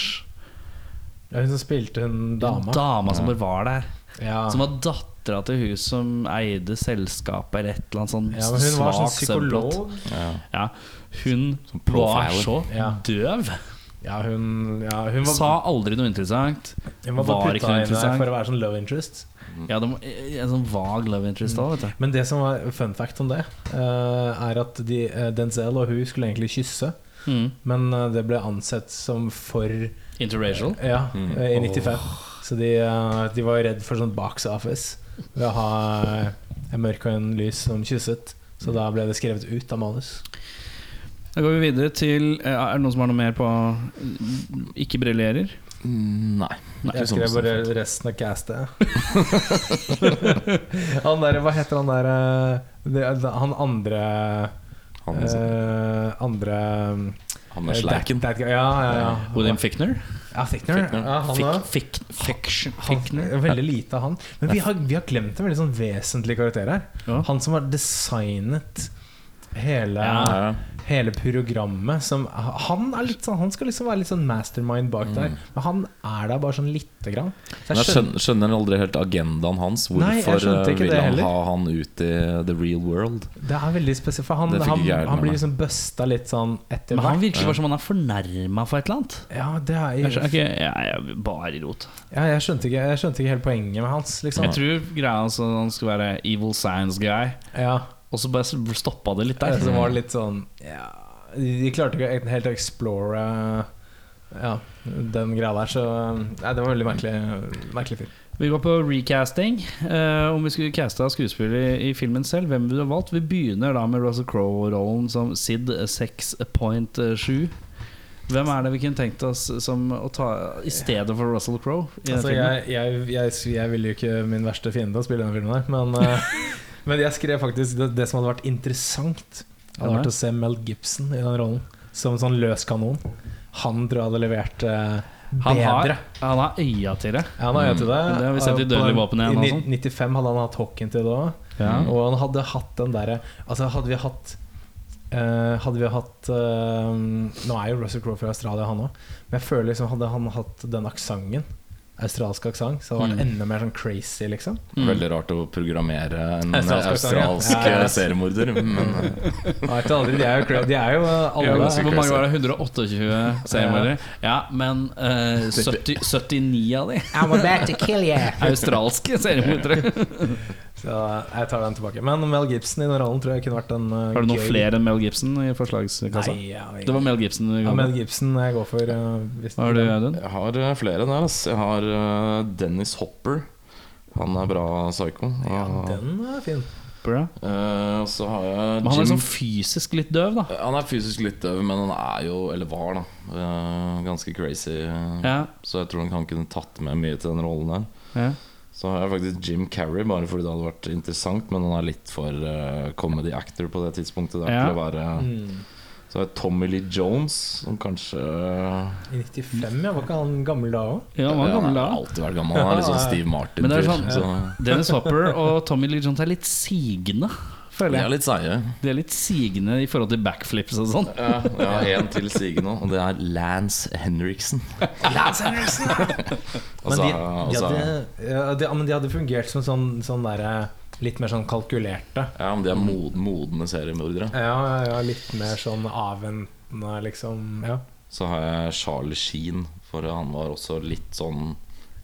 B: ja, hun som spilte hun dama.
A: Dama som bare var der.
B: ja.
A: Som var dattera til hun som eide selskapet eller et eller annet sånn
B: ja, men hun var sånn
A: svak subplot.
B: psykolog.
C: Ja.
A: Ja, hun
C: Som
A: var
C: profiler.
A: så
B: Ja.
A: døv.
B: Ja, hun, ja, hun var,
A: Sa aldri noe interessant.
B: hun var bare
A: var ikke
B: putta inn der
A: interessant.
B: for å være sånn love interest.
A: Ja, det var En sånn vag love interest òg, vet du.
B: Men det som var fun fact om det, eh, er at de, eh, Denzel og hun skulle egentlig kysse,
A: Mm.
B: men eh, det ble ansett som for
A: Interracial.
B: Ja, eh, i 95. Så de, eh, de var redd for sånn box office ved å ha eh, en mørk og en lys som kysset. Så da ble det skrevet ut av manus.
A: Da går vi videre til eh, Er det noen som har noe mer på ikke briljerer?
C: Mm, Nei. ikke
B: Jeg
C: sånn
B: skrev bare
C: bestemt.
B: resten av castet. han der, hva heter han der eh, det, Han andre
C: Han,
B: eh, Andre
C: han med sleiken.
B: That, that, ja, ja, ja.
A: William Fickner?
B: Ja, Fickner.
C: Fichtner.
B: Ja, han
A: Fick,
B: er-
A: fick, fiction,
B: han,
A: Fickner?
B: veldig lite av han. Men vi har, vi har glemt en veldig sånn vesentlig karakter her.
A: Ja.
B: Han som har designet hele,
A: Ja.
C: Ja.
B: hele programmet. Som, han, er litt sånn, han skal liksom være litt sånn mastermind bak der, men han er der bare sånn lite grann. Så
C: Mm. Men Jeg skjønner, skjønner aldri helt agendaen hans.
B: Nei, jeg
C: Hvorfor
B: skjønte
C: eh,
B: ikke
C: vil
B: det
C: han
B: heller.
C: ha han ut i the real world?
B: Det er veldig spesielt, for han,
C: Det fikk
B: han,
C: ikke jeg
B: han
C: med
B: blir
C: meg.
B: liksom busta litt sånn etter
A: Men han
B: hvert.
A: virker bare som han er fornærma for et eller annet.
B: Ja, det er,
A: Jeg skjønner
B: jeg,
A: ikke, jeg er bare rot.
B: ja, jeg, skjønte ikke, jeg skjønte ikke helt poenget med hans, liksom.
A: Jeg tror greia hans er altså at han skal være evil science guy,
B: Ja,
A: og så bare stoppa det litt
B: det
A: der.
B: som var litt sånn ja, De klarte ikke helt å explore eh, ja, den greia der, så eh, nei, det var veldig merkelig, merkelig film.
A: Vi går på recasting. Eh, om vi skulle casta skuespiller i filmen selv, hvem ville du ha valgt? Vi begynner da med Russell Crowe-rollen som Sid 6.7. Hvem er det vi kunne tenkt oss som å ta i stedet for Russell Crowe? i den
B: Altså,
A: filmen?
B: jeg, jeg, jeg, jeg ville jo ikke min verste fiende å spille denne filmen her, men, eh, men jeg skrev faktisk det, det som hadde vært interessant, Det hadde vært å se Mel Gibson i den rollen, som en sånn løs kanon. Han tror jeg hadde levert eh,
A: Han
B: bedre.
A: har, han har øya til det.
B: Ja, han har øye til det.
A: Det har vi sett i
B: Og
A: Dødelig
B: på-
A: våpen igjen
B: I
A: og
B: ni- 95 hadde han hatt hockeyen til det òg.
A: Ja.
B: Og han hadde hatt den derre Altså, hadde vi hatt eh, hadde vi hatt eh, Nå er jo Russell Crowe fra Australia, han òg. Men jeg føler liksom hadde han hatt den aksenten, australsk aksent, så hadde det
A: Mm.
B: vært enda mer sånn crazy, liksom.
C: Mm. Veldig rart å programmere en
B: Australsk
C: australsk
B: aksent,
C: eh,
B: ja. Ja.
C: seriemorder, men eh,
B: Jeg vet aldri, de er jo, cra- de er jo eh,
A: Ja, altså,
B: alle
A: Hvor mange var det? 128 seriemordere? Ja, men eh, 70, 79 av de
B: I'm about to kill you.
A: australske seriemordere.
B: Så jeg tar den tilbake. Men Mel Gibson i den rollen tror jeg kunne vært en eh,
A: Har du noen
B: gøy-
A: flere enn Mel Gibson i forslagskassa?
B: Nei, ja,
A: Det var Mel Gibson. du
B: ja,
A: ga
B: Mel
A: på.
B: Gibson jeg går for. eh, hvis
A: Hva har du, Audun?
C: jeg har eh, flere der. Ass. Jeg har eh, Dennis Hopper. Han er bra psycho.
B: Ja,
C: Og
B: den er fin.
A: Bra.
C: eh, og så har jeg
A: Men han er
C: Jim-
A: sånn fysisk litt døv, da.
C: Eh, Han er fysisk litt døv, men han er jo, eller var, da eh, ganske crazy. eh,
A: Ja,
C: Så jeg tror han kan kunne tatt med mye til den rollen der.
A: ja.
C: Så har jeg faktisk Jim Carrey, bare fordi det hadde vært interessant, men han er litt for eh, comedy actor på det tidspunktet. Der,
A: Ja. Mm.
C: til å være,
B: Mm.
C: Så har jeg Tommy Lee Jones, som kanskje
B: I 95, ja. Var ikke han gammel da òg?
A: ja han var gammel da.
C: har alltid vært gammel. Han er litt sånn Steve
A: Men det er
C: Martin-typ.
A: sånn-
C: så-
A: Dennis Hopper og Tommy Lee Jones er litt sigende,
C: De
A: føler
C: er
A: jeg.
C: litt seige.
A: De er litt sigende i forhold til backflips og sånn.
C: Ja, jeg har én til sige nå, og det er Lance Henriksen.
B: Men
C: Altså,
B: de, de,
C: altså,
B: hadde, ja, de, ja, men de hadde fungert som sånn, sånn derre Litt mer sånn kalkulerte.
C: ja, men de er mod, modne seriemordere.
B: Ja, ja, ja, litt mer sånn avventende, liksom. Ja.
C: Så har jeg Charlie Sheen, for han var også litt sånn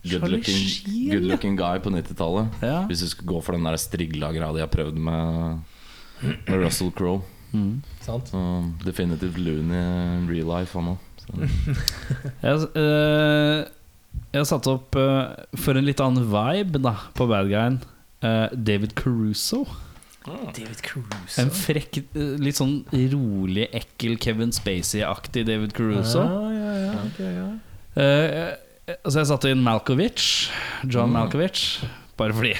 C: good
A: Charlie
C: looking,
A: Sheen,
C: good
A: ja.
C: looking guy på 90-tallet.
A: Ja.
C: Hvis du skulle gå for den der strigla-greia de har prøvd med, med Russell Crowe.
A: Mm.
B: Sant?
C: Så definitivt Looney in real life, han òg.
A: Jeg, eh, jeg satte opp eh, for en litt annen vibe da, på bad guyen. eh, David Caruso.
B: David Cruise.
A: En frekk, eh, litt sånn rolig, ekkel Kevin Spacey-aktig David Caruso.
B: Ja, ja, ja, ok, ja.
A: Eh, eh, altså jeg satte inn Malkovich. John Malkovich. Bare fordi.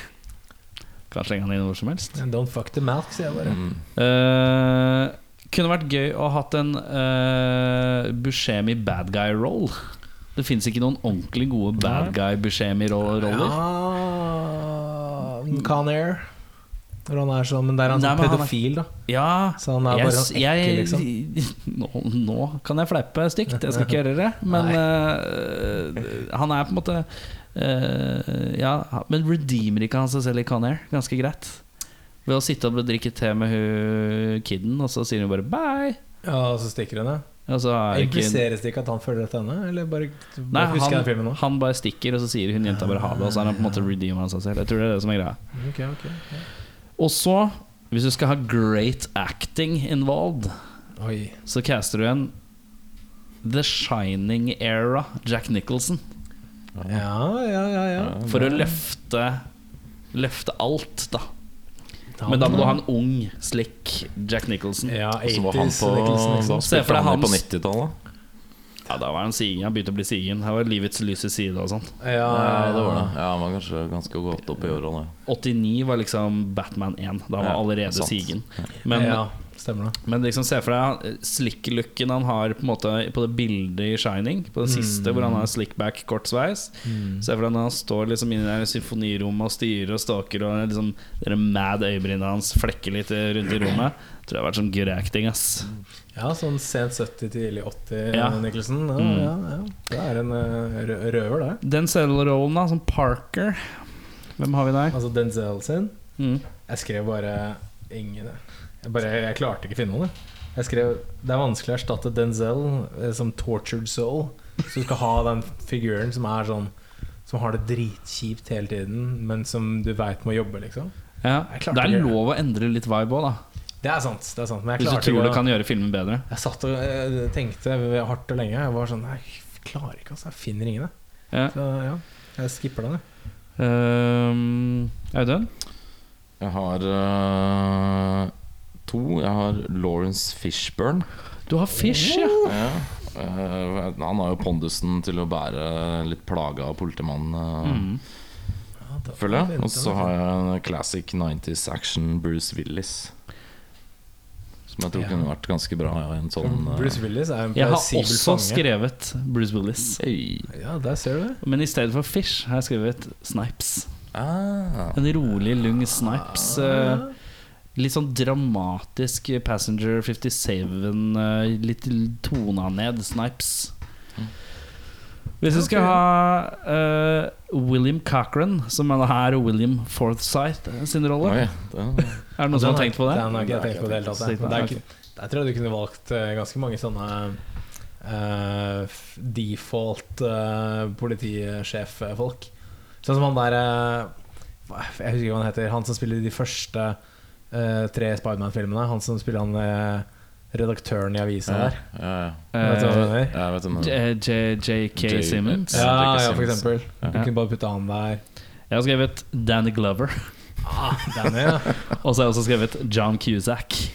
A: Kan slenge han inn hvor som helst.
B: Don't fuck the milk, sier jeg bare.
C: Mm.
A: Eh, kunne vært gøy å ha hatt en eh, Buscemi bad guy-roll. Det fins ikke noen ordentlig gode bad guy Buscemi-roller.
B: Ja, Conair. Når han er sånn, men der er han
A: Nei,
B: sånn
A: men han er-
B: pedofil, da.
A: Ja,
B: Så han er
A: jeg,
B: bare sånn ekkel,
A: nå, nå kan jeg fleipe stygt, jeg skal ikke gjøre det. Men eh, han er på en måte eh, Ja, men redeemer ikke han seg selv i Conair ganske greit? Ved å sitte og drikke te med hun kiden, og så sier hun bare bye.
B: Ja, og så stikker hun, ja.
A: Og så er det ikke
B: Impliseres det ikke at han føler dette henne? Eller bare,
A: Nei,
B: bare husker jeg den filmen
A: han,
B: nå?
A: han bare stikker, og så sier hun jenta bare ha det. Og så er han på en måte redeemer han seg selv. Jeg tror det er det som er greia.
B: Ok, ok, ok.
A: Og så, hvis du skal ha great acting involved,
B: Oi.
A: så caster du en The Shining Era Jack Nicholson.
B: Ja, ja, ja, ja.
A: For å løfte Løfte alt, da. Men da må du ha en ung, slick Jack Nicholson.
B: Ja,
C: Og så var han
B: 80s
C: på,
B: Nicholson, ikke
C: hva
B: sant?
A: Se for
C: spilte
A: deg
C: han i på
A: hans-
C: 90-tallet?
A: Ja, Da var han sigen. Han begynte å bli sigen. Her var livets lyse side og sånn.
B: Ja, ja,
C: Ja, det var det.
B: ja.
C: Ja, han var kanskje ganske godt opp i åra, det.
A: 89 var liksom Batman 1. Da var han
C: Ja,
A: allerede
C: sant.
A: sigen. Men
B: ja, stemmer det.
A: Men liksom se for deg slick-looken han har på, en måte, på det bildet i Shining, på det siste, hvor han har slickback, kort sveis. Se for deg når han står liksom inne der i symfonirommet og styrer og stalker, og liksom, det der mad øyebrynene hans flekker litt eh, rundt i rommet. Tror det har vært sånn good acting, ass.
B: Ja, sånn sent 70, tidlig 80,
A: Ja.
B: Nicholson. Ja,
A: Mm.
B: ja, ja. Det er en eh, rø røver, det.
A: Den cellerollen, da, som Parker Hvem har vi der?
B: Altså Denzel sin.
A: Mm.
B: Jeg skrev bare ingen Jeg, bare, jeg klarte ikke å finne noe. Jeg skrev det er vanskelig å erstatte Denzel eh, som tortured soul. Så du skal ha den figuren som er sånn Som har det dritkjipt hele tiden, men som du veit må jobbe, liksom.
A: Ja.
B: Jeg klarte
A: Det er
B: ikke det.
A: lov å endre litt vibe òg, da.
B: Det er sant. det er sant Men jeg
A: Hvis du
B: klarte
A: tror det
B: ikke å
A: kan gjøre filmen bedre.
B: Jeg satt og eh, tenkte hardt og lenge. Jeg var sånn Jeg klarer ikke, altså. Jeg finner ingen, jeg.
A: Ja.
B: Så ja, jeg skipper den, jeg.
A: Ehm, Audun?
C: Jeg har eh, to. Jeg har Lawrence Fishburne.
A: Du har Fish, ja.
C: Ja. eh, han har jo pondusen til å bære litt plaga politimann, eh,
A: Mm.
B: Ja, da-
C: føler jeg.
B: venter sånn,
C: Og så har jeg en classic 90s action Bruce Willis. Som Som jeg tror
B: Ja. Mm,
C: kunne vært ganske bra i en sånn eh,
B: Bruce Willis er en
A: Jeg har
B: plausibel
A: også
B: fange.
A: skrevet Bruce Willis.
C: Hey.
B: Ja, der ser du det.
A: Men i stedet for Fish har jeg skrevet Snipes.
C: Ah.
A: En rolig, lung Snipes. eh, Litt sånn dramatisk Passenger 57, eh, litt tona ned Snipes. Hvis du skal ha eh, William Cochran, som er William Forthsight sin rolle
C: Oi, det-
A: Er det noen som har tenkt på det?
B: Altså, Den har ikke jeg tenkt på i det hele tatt. jeg.
A: Tenkt på
B: Men det er
A: det,
B: ikke- Jeg tror du kunne valgt eh, ganske mange sånne eh, f- default eh, politisjef-folk. Sånn som han der eh, hva- Jeg husker ikke hva han heter. Han som spiller i de første eh, tre Spiderman-filmene. Han som spiller han eh, redaktøren i avisa
C: Ja,
B: der.
C: ja, ja.
B: Vet du hva
A: Eh,
B: han heter?
C: Jeg vet hvem det er.
A: J- J- J.K.
C: J-
A: Simmons.
B: Ja,
C: Ja,
B: ja,
C: Jackie
B: for
C: Simmons.
B: eksempel. Du
A: Ja.
B: kunne bare putta han der.
A: Jeg har skrevet Danny Glover.
B: Ah, Danny, ja.
A: Og så har jeg også skrevet John Cusack.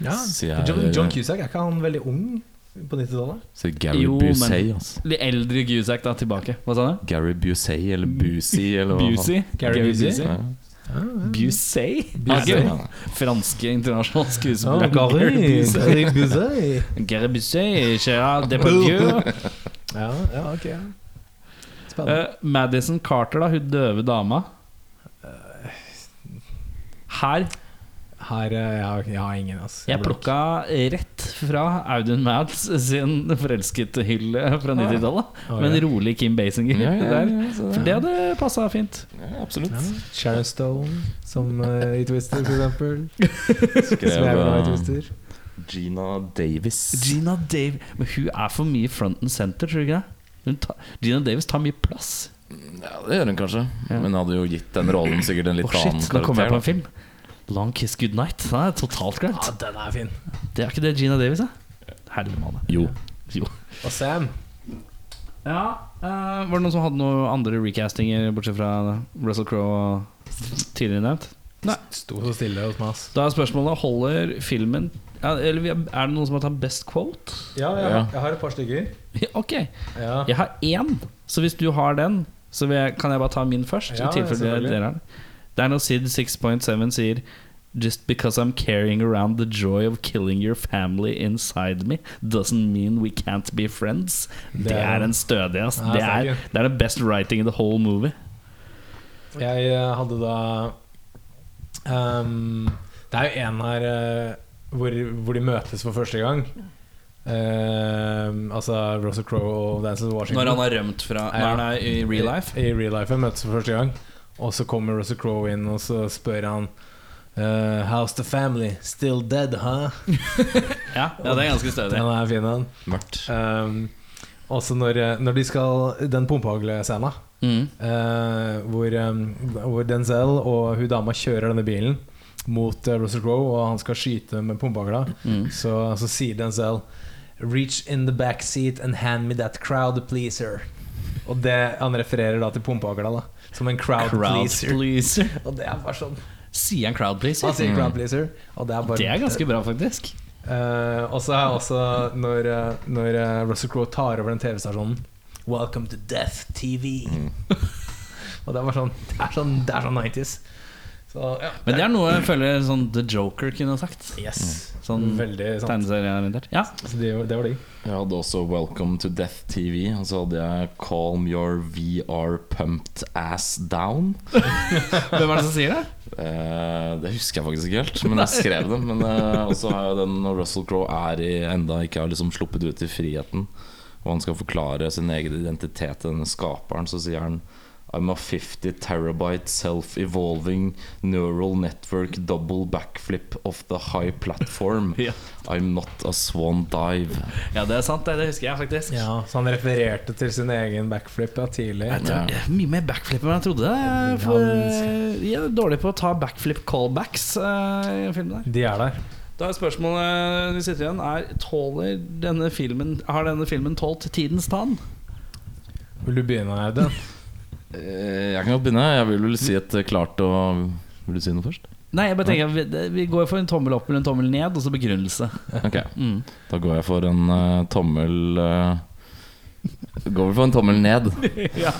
B: ja.
C: Sier jeg-
B: John, John Cusack, er ikke han veldig ung på 90-tallet?
C: Så Gary
A: Jo, men-
C: Busey, altså.
A: Litt eldre Cusack da, tilbake. Hva sa du?
C: Gary Busey, eller Busey, eller hva faen.
A: Busey?
B: Gary Busey? Mm.
C: Ja.
A: Busey?
B: Busey.
A: Busey. Franske internasjonale
B: Sånn.
A: skuespillere.
B: Busey.
A: Gary Busey, Gerard Depardieu.
B: Ja, ja, ok. ja. Spennende.
A: Eh, Madison Carter, da, hun døve dama. Eh, Her
B: Her eh, jeg har, jeg har ingen, altså.
A: Jeg plukka rett fra Audun Mads sin forelsket-hylle fra 90-tallet.
B: Ah,
A: Med
B: ja.
A: en rolig Kim Basinger
C: Ja, ja, ja,
A: der.
C: ja, så
A: For det hadde passa fint.
C: ja, absolutt.
B: Ja. Sharon Stone, som eh, i Twister, for eksempel. Som jeg er glad i
C: Skrev eh,
B: Twister.
C: Gina Davis.
A: Gina Davis Men hun er for mye front and center, tror du ikke det? Hun ta, Gina Davis tar mye plass.
C: Ja, det gjør hun kanskje.
A: Ja.
C: Men hadde jo gitt den rollen sikkert en
A: Å
C: litt
A: shit,
C: annen
A: nå kommer jeg på
C: karakter.
A: en film. Long Kiss Goodnight. Den er totalt glemt.
B: Ja, Ah, den er fin.
A: Det er ikke det Gina Davis er. Hellemane.
C: da. Jo.
A: Jo.
B: Og Sam.
A: Ja, eh, var det noen som hadde noen andre recastinger, bortsett fra Russell Crowe og tidligere nevnt? Nei.
B: Sto så stille hos meg, ass.
A: Da er spørsmålet holder filmen ja, Eller vi- er det noen som har tatt best quote?
B: Ja,
C: Ja.
B: jeg har et par stykker.
A: Ja, ok,
B: Ja.
A: jeg har én, så hvis du har den, så vil jeg, kan jeg bare ta min først.
B: Ja,
A: i tilfelle
B: selvfølgelig.
A: dere har den. Det er når Sid 6.7 sier Just because I'm carrying around the joy of killing your family inside me doesn't mean we can't be friends. Det er en stødig, ass.
B: Ja,
A: Det
B: thank
A: er,
B: you.
A: det er the best writing in the whole movie.
B: Jeg eh, hadde da ehm, Det er jo en her eh, hvor, hvor de møtes for første gang. Ehm, altså Russell Crowe og Dances Washington.
A: Når han har rømt fra Når
B: Ja.
A: han er i real life.
B: I, i real life jeg møtes for første gang. Og så kommer Russell Crowe inn, og så spør han eh, How's the family? Still dead, huh?
A: Ja, ja det er ganske stødig.
B: Den er fin, den.
C: Mørkt.
B: Ehm, også når, eh, når de skal Den pumpehaglescena.
A: Mm.
B: Eh, hvor, eh, hvor Denzel og hun dama kjører denne bilen mot eh, Russell Crowe, og han skal skyte med pumpehagla. Så, så sier Denzel Reach in the back seat and hand me that crowd pleaser. Og det, han refererer da til pumpehagla da, som en crowd,
A: Crowd
B: pleaser.
A: pleaser.
B: Og det er bare sånn
A: Sier han crowd pleaser?
B: Han sier crowd pleaser, og det er bare
A: Mm. Det er ganske bra, faktisk.
B: Eh, og så er også når, eh, når eh, Russell Crowe tar over den TV-stasjonen Welcome to Death TV.
A: Mm.
B: og det var sånn Det er sånn, det er sånn 90s. Så ja.
A: Men det er noe jeg føler sånn The Joker kunne ha sagt.
B: Yes.
A: Sånn
B: Veldig sant.
A: tegneserieorientert. Ja.
B: Så det, det var digg.
C: Jeg hadde også Welcome to Death TV. Og så hadde jeg Calm Your VR Pumped Ass Down.
A: Hvem er det som sier det?
C: Eh, det husker jeg faktisk ikke helt, men jeg skrev det. Men eh, også har jeg den når Russell Crowe er i, enda ikke har liksom sluppet ut i friheten, og han skal forklare sin egen identitet til denne skaperen, så sier han I'm a 50 terabyte self-evolving neural network double backflip of the high platform.
A: Ja.
C: I'm not a swan dive.
A: Ja, det er sant, det, det husker jeg faktisk.
B: Ja, så han refererte til sin egen backflip ja, tidlig.
A: Jeg tror, det er mye mer backflip enn jeg trodde. Jeg, for, eh, jeg er dårlig på å ta backflip callbacks eh, i filmen der.
B: De er der.
A: Da er spørsmålet vi sitter igjen, er tåler denne filmen Har denne filmen tålt tidens tann?
B: Vil du begynne, Audun?
C: Eh, jeg kan godt begynne. Jeg vil vel si et eh, klart og Vil du si noe først?
A: Nei, jeg bare tenker vi, det- vi går for en tommel opp eller en tommel ned, og så begrunnelse.
C: Ok, Da går jeg for en eh, tommel eh, Går vel for en tommel ned.
A: Ja.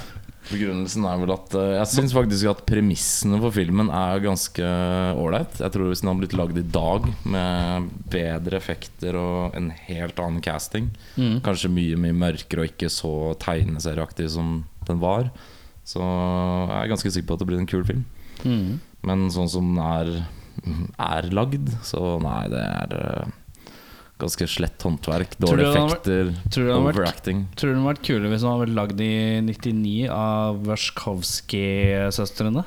C: Begrunnelsen er vel at eh, Jeg syns faktisk at premissene for filmen er ganske ålreit. Jeg tror hvis den hadde blitt lagd i dag med bedre effekter og en helt annen casting,
A: Mm.
C: kanskje mye mye mørkere og ikke så tegneserieaktig som den var, så jeg er ganske sikker på at det blir en kul film.
A: Mm.
C: Men sånn som den er, er lagd, så nei, det er eh, ganske slett håndverk.
A: Tror du
C: Dårlige
A: den hadde
C: effekter,
A: Tror du det hadde vært
C: overacting.
A: Tror du den hadde vært kulere hvis den hadde vært lagd i 99 av Warszkowski-søstrene?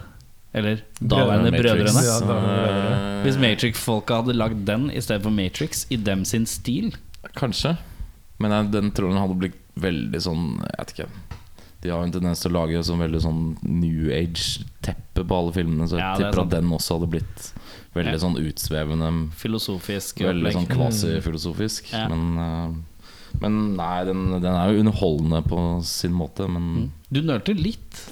A: Eller daværende
C: Matrix.
A: brødrene?
B: Ja, daværende
C: Eh,
A: Hvis Matrix-folka hadde lagd den i stedet for Matrix i dem sin stil?
C: Kanskje. Men jeg, den tror den hadde blitt veldig sånn Jeg vet ikke. De har jo en tendens til å lage sånn veldig sånn new age-teppe på alle filmene, så jeg
A: Ja, det er
C: tipper
A: sant.
C: at den også hadde blitt veldig
A: Ja.
C: sånn utsvevende.
A: Filosofisk
C: Veldig sånn
A: opplegg.
C: kvasifilosofisk.
A: Ja.
C: Men, eh, men nei, den, den er jo underholdende på sin måte, men
A: Mm. Du nølte litt.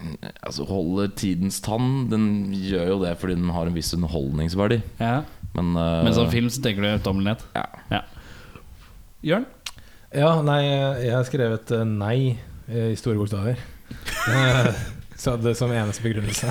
A: Mm.
C: altså, holder tidens tann. Den gjør jo det fordi den har en viss underholdningsverdi,
A: Ja.
C: men eh,
A: Men sånn som film så tenker du ungdommelighet.
C: Ja.
A: ja. Jørn?
B: Ja, nei, jeg har skrevet eh, nei eh, i store bokstaver. Eh, Så det som eneste begrunnelse.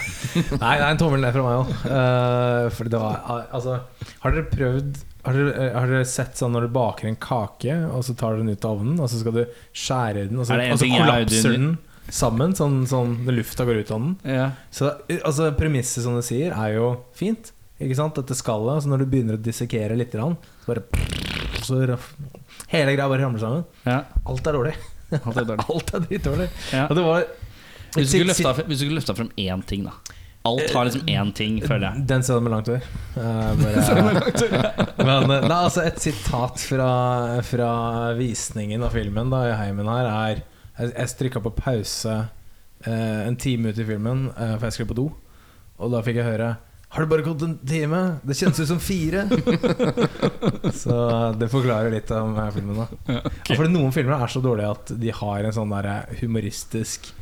B: Nei, det er en tommel ned fra meg òg. Fordi det var al- Altså, har dere prøvd har dere, eh, har dere sett sånn når du baker en kake, og så tar du den ut av ovnen, og så skal du skjære den, og så,
A: Er det en
B: og så
A: ting jeg-
B: kollapser den sammen, sånn, sånn når lufta går ut av den?
A: Ja.
B: Så eh, altså, Premisset som du sier, er jo fint. Ikke sant? Dette skallet. Så altså, når du begynner å dissekere litt, grann, så bare så raff, Hele greia bare ramler sammen.
A: ja.
B: Alt er dårlig.
A: Alt er dårlig.
B: Alt er dritdårlig.
A: Ja.
B: Og det var
A: Hvis du skulle løfta frem- hvis du skulle løfta frem én ting, da. Alt har liksom én ting, føler jeg.
B: Den stedet med langt hår. Eh, bare- Men eh, nei, altså et sitat fra, fra visningen av filmen da, i heimen her er Jeg, jeg strykka på pause eh, en time ut i filmen, eh, for jeg skulle på do. Og da fikk jeg høre Har det bare gått en time? Det kjennes ut som fire! så det forklarer litt om eh, filmen, da. Ja, Fordi noen filmer er så dårlige at de har en sånn der humoristisk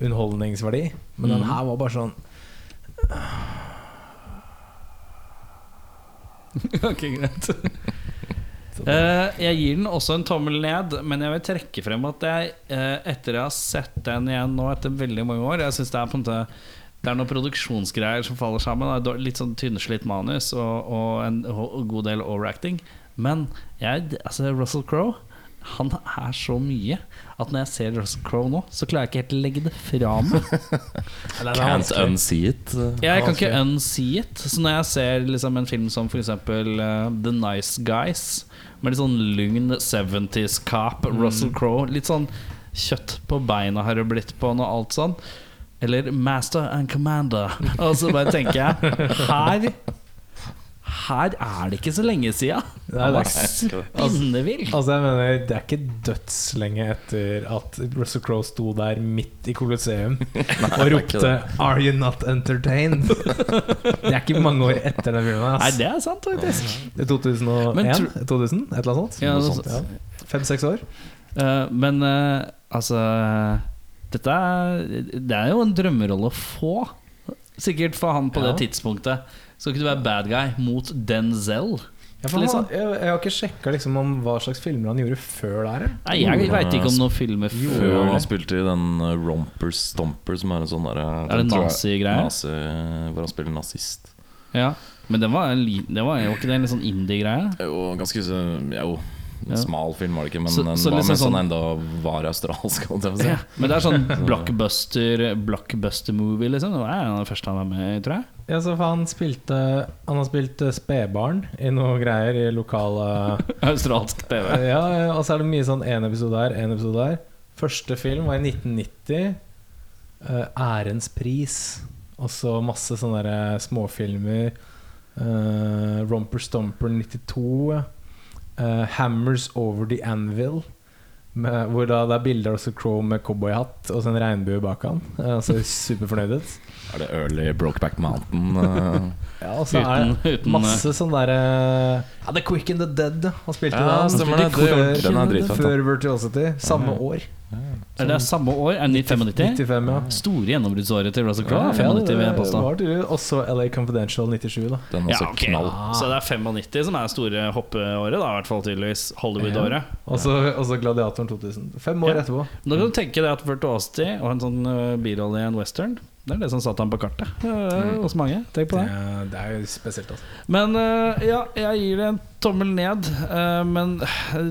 B: underholdningsverdi. Men den
A: Mhm.
B: her var bare sånn
A: ok, greit. Eh, jeg gir den også en tommel ned, men jeg vil trekke frem at jeg, eh, etter jeg har sett den igjen nå etter veldig mange år Jeg synes det er på en måte Det er noen produksjonsgreier som faller sammen. Det er dår- litt sånn tynnslitt manus og, og en og god del overacting. Men jeg, altså Russell Crowe han er så mye at når jeg ser Russell Crowe nå, så klarer jeg ikke helt å legge det fra meg.
B: Eller, det er
C: Can't
B: vanskelig.
C: unsee it.
A: Jeg kan ikke
B: Vanskelig.
A: unsee it. Så når jeg ser liksom en film som f.eks. Uh, The Nice Guys, med litt sånn lugn 70s cop,
B: Mm.
A: Russell Crowe Litt sånn kjøtt på beina har det blitt på han, og alt sånn. Eller Master and Commander. Og så bare tenker jeg Her Her er det ikke så lenge sia.
B: Nei,
A: Han
B: det er
A: var spinnevill.
B: Altså jeg mener, Det er ikke dødslenge etter at Russell Crowe sto der midt i Colosseum og
C: ikke
B: ropte
C: det.
B: 'Are you not entertained?' Det er ikke mange år etter den filmen.
A: Nei,
B: Ass.
A: det er sant, faktisk.
B: Det er 2001?
A: Men tro-
B: 2000? Et eller annet sånt?
A: Ja, altså,
C: noe
A: sånt.
B: Ja. Fem-seks år?
A: Eh, men eh, altså Dette er, det er jo en drømmerolle å få. Sikkert for han på
B: Ja.
A: det tidspunktet. Skal ikke du være bad guy mot Denzel?
B: Ja, altså. for han,
A: Liksom.
B: jeg, jeg har ikke sjekka liksom, om hva slags filmer han gjorde før der. jeg.
A: Nei, jeg veit ikke om noen filmer
C: Før
A: før
C: han spilte i den eh, Romper Stomper, som er en sånn derre
A: Er det nazigreier?
C: Nazi, hvor han spiller nazist.
A: ja. Men den var, en li- det var jo ikke det en litt sånn indie-greie?
C: Jo, ganske så ja, Jo,
A: Ja.
C: en smal film var det ikke, men
A: Så-
C: den
A: så
C: var
A: liksom
C: mer
A: sånn-
C: sånn enda var australsk, holdt jeg på å si.
A: Ja. Men det er sånn blockbuster Blockbuster-movie, liksom. Det er den første han var med i, tror jeg.
B: Ja, så for han, spilte, han har spilt eh, spedbarn i noe greier i lokale
A: Australsk TV.
B: Ja, ja, og så er det mye sånn en episode her, en episode der. Første film var i 1990. eh, Ærens pris. Og så masse sånne der, eh, småfilmer. eh, Romper Stomper 92. eh, Hammers Over The Anvil. Med, hvor da det er bilder av Russell Crowe med cowboyhatt og så en regnbue bak han. Uh, ser superfornøyd ut.
C: Er det Early Brokeback Mountain? eh?
B: Ja, og så er
A: Uten-
B: det
A: uten,
B: masse sånn derre ja, The Quick and the Dead. Han spilte
C: Ja,
B: den.
C: stemmer
B: Før-
C: det. Det- den er dritfett,
B: Mm.
C: da.
B: Før Virtuosity. Samme år.
A: eh, Er det samme år? Er det 95?
B: 95, ja.
A: Store gjennombruddsåret til Russell Crowe. 95, vil jeg
B: det
A: påstå.
B: var tydeligvis også LA Confidential 97, da.
C: Den er
A: Ja,
C: også
A: ok. Ah.
C: knall.
A: Så det er 95 som er det store hoppeåret, da, i hvert fall tydeligvis. Hollywood-året.
B: Og så og så Gladiatoren 2000. Fem år
A: Ja.
B: etterpå.
A: Nå kan du tenke deg at Burt Aastie og en sånn øh, birolle i en western. Det er det som satte ham på kartet øh, hos mange. Tenk på det.
B: Ja, det er jo spesielt, altså.
A: Men øh, ja, jeg gir det en tommel ned. øh, men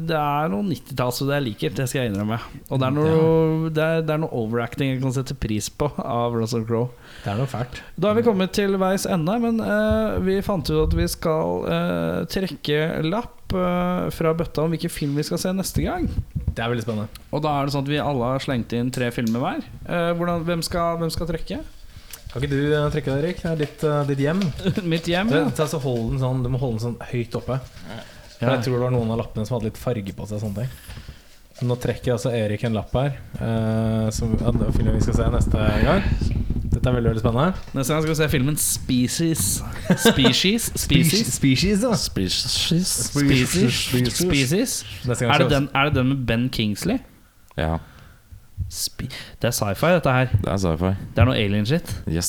A: det er noe 90-talls ved det jeg liker, det skal jeg innrømme. Og det er noe, det er, det er noe overacting jeg kan sette pris på av Russell Crowe.
B: Det er noe fælt.
A: Da har vi kommet til veis ende, men eh, vi fant ut at vi skal eh, trekke lapp eh, fra bøtta om hvilken film vi skal se neste gang.
B: Det er veldig spennende.
A: Og da er det sånn at vi alle har slengt inn tre filmer hver. Eh, hvordan, hvem, skal, hvem skal trekke?
B: Kan ikke du eh, trekke deg, Erik? Det er ditt, eh, ditt hjem.
A: Mitt hjem?
B: Du,
A: Ja.
B: ta så hold den sånn, du må holde den sånn høyt oppe. For jeg tror det var noen av lappene som hadde litt farge på seg. og Sånne ting. Så nå trekker altså Erik en lapp her, eh, som ja, det er filmen vi skal se neste gang. Dette er veldig veldig spennende.
A: Neste gang skal vi se filmen Species. Species? Species?
B: Species, da.
C: Species.
A: Species? Species? Er,
B: Neste gang
A: det
B: skal vi-
A: den, er det den med Ben Kingsley?
C: Ja,
A: Spe det er sci-fi, dette her.
C: det er sci-fi.
A: Det er noe alien-shit.
C: Yes,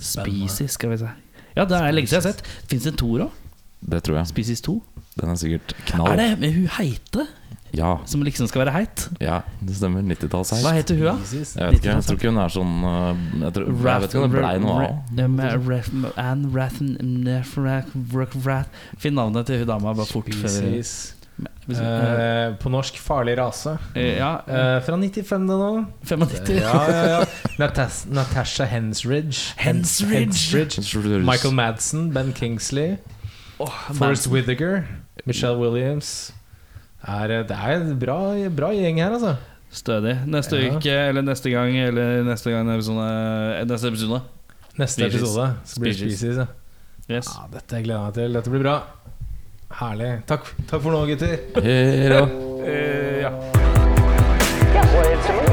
A: Species, skal vi se. Ja, det er lenge siden jeg har sett. Fins det en toer òg?
C: det tror jeg.
A: Species 2?
C: Den er sikkert
A: Er
C: knall.
A: det med hun heite?
C: Ja,
A: Som liksom skal være heit?
C: ja, det stemmer. 90-talls
A: Hva
C: her.
A: heter hun, da?
B: Species.
C: Jeg vet ikke, jeg tror ikke hun er sånn øh, Jeg, tror, jeg vet ikke om det blei noe av.
A: av Anne Rathen Finn navnet til hun dama bare fort. før-
B: Species.
A: Hvis-
B: Eh, på norsk 'Farlig rase'.
A: eh, Ja,
B: Eh, fra 95 det nå.
A: 95.
B: Ja, ja, ja. Natas Natasha Hensridge.
A: Hensridge.
B: Hensridge. Michael Madsen, Ben Kingsley,
A: Åh,
B: Forrest
A: man.
B: Whittaker, Michelle Williams. Er, eh, det er en bra, bra gjeng her, altså.
A: Stødig. Neste
B: Ja.
A: uke eller neste gang eller neste gang i episode, eh, neste episode.
B: Neste
A: Species.
B: episode så blir det
A: Species.
B: Species. Ja.
A: Yes.
B: Ja, dette gleder jeg meg til. Dette blir bra. Herlig. Takk, Takk for nå, gutter.
C: Hero.
A: Eh, ja.
D: Yeah, well, it's a movie.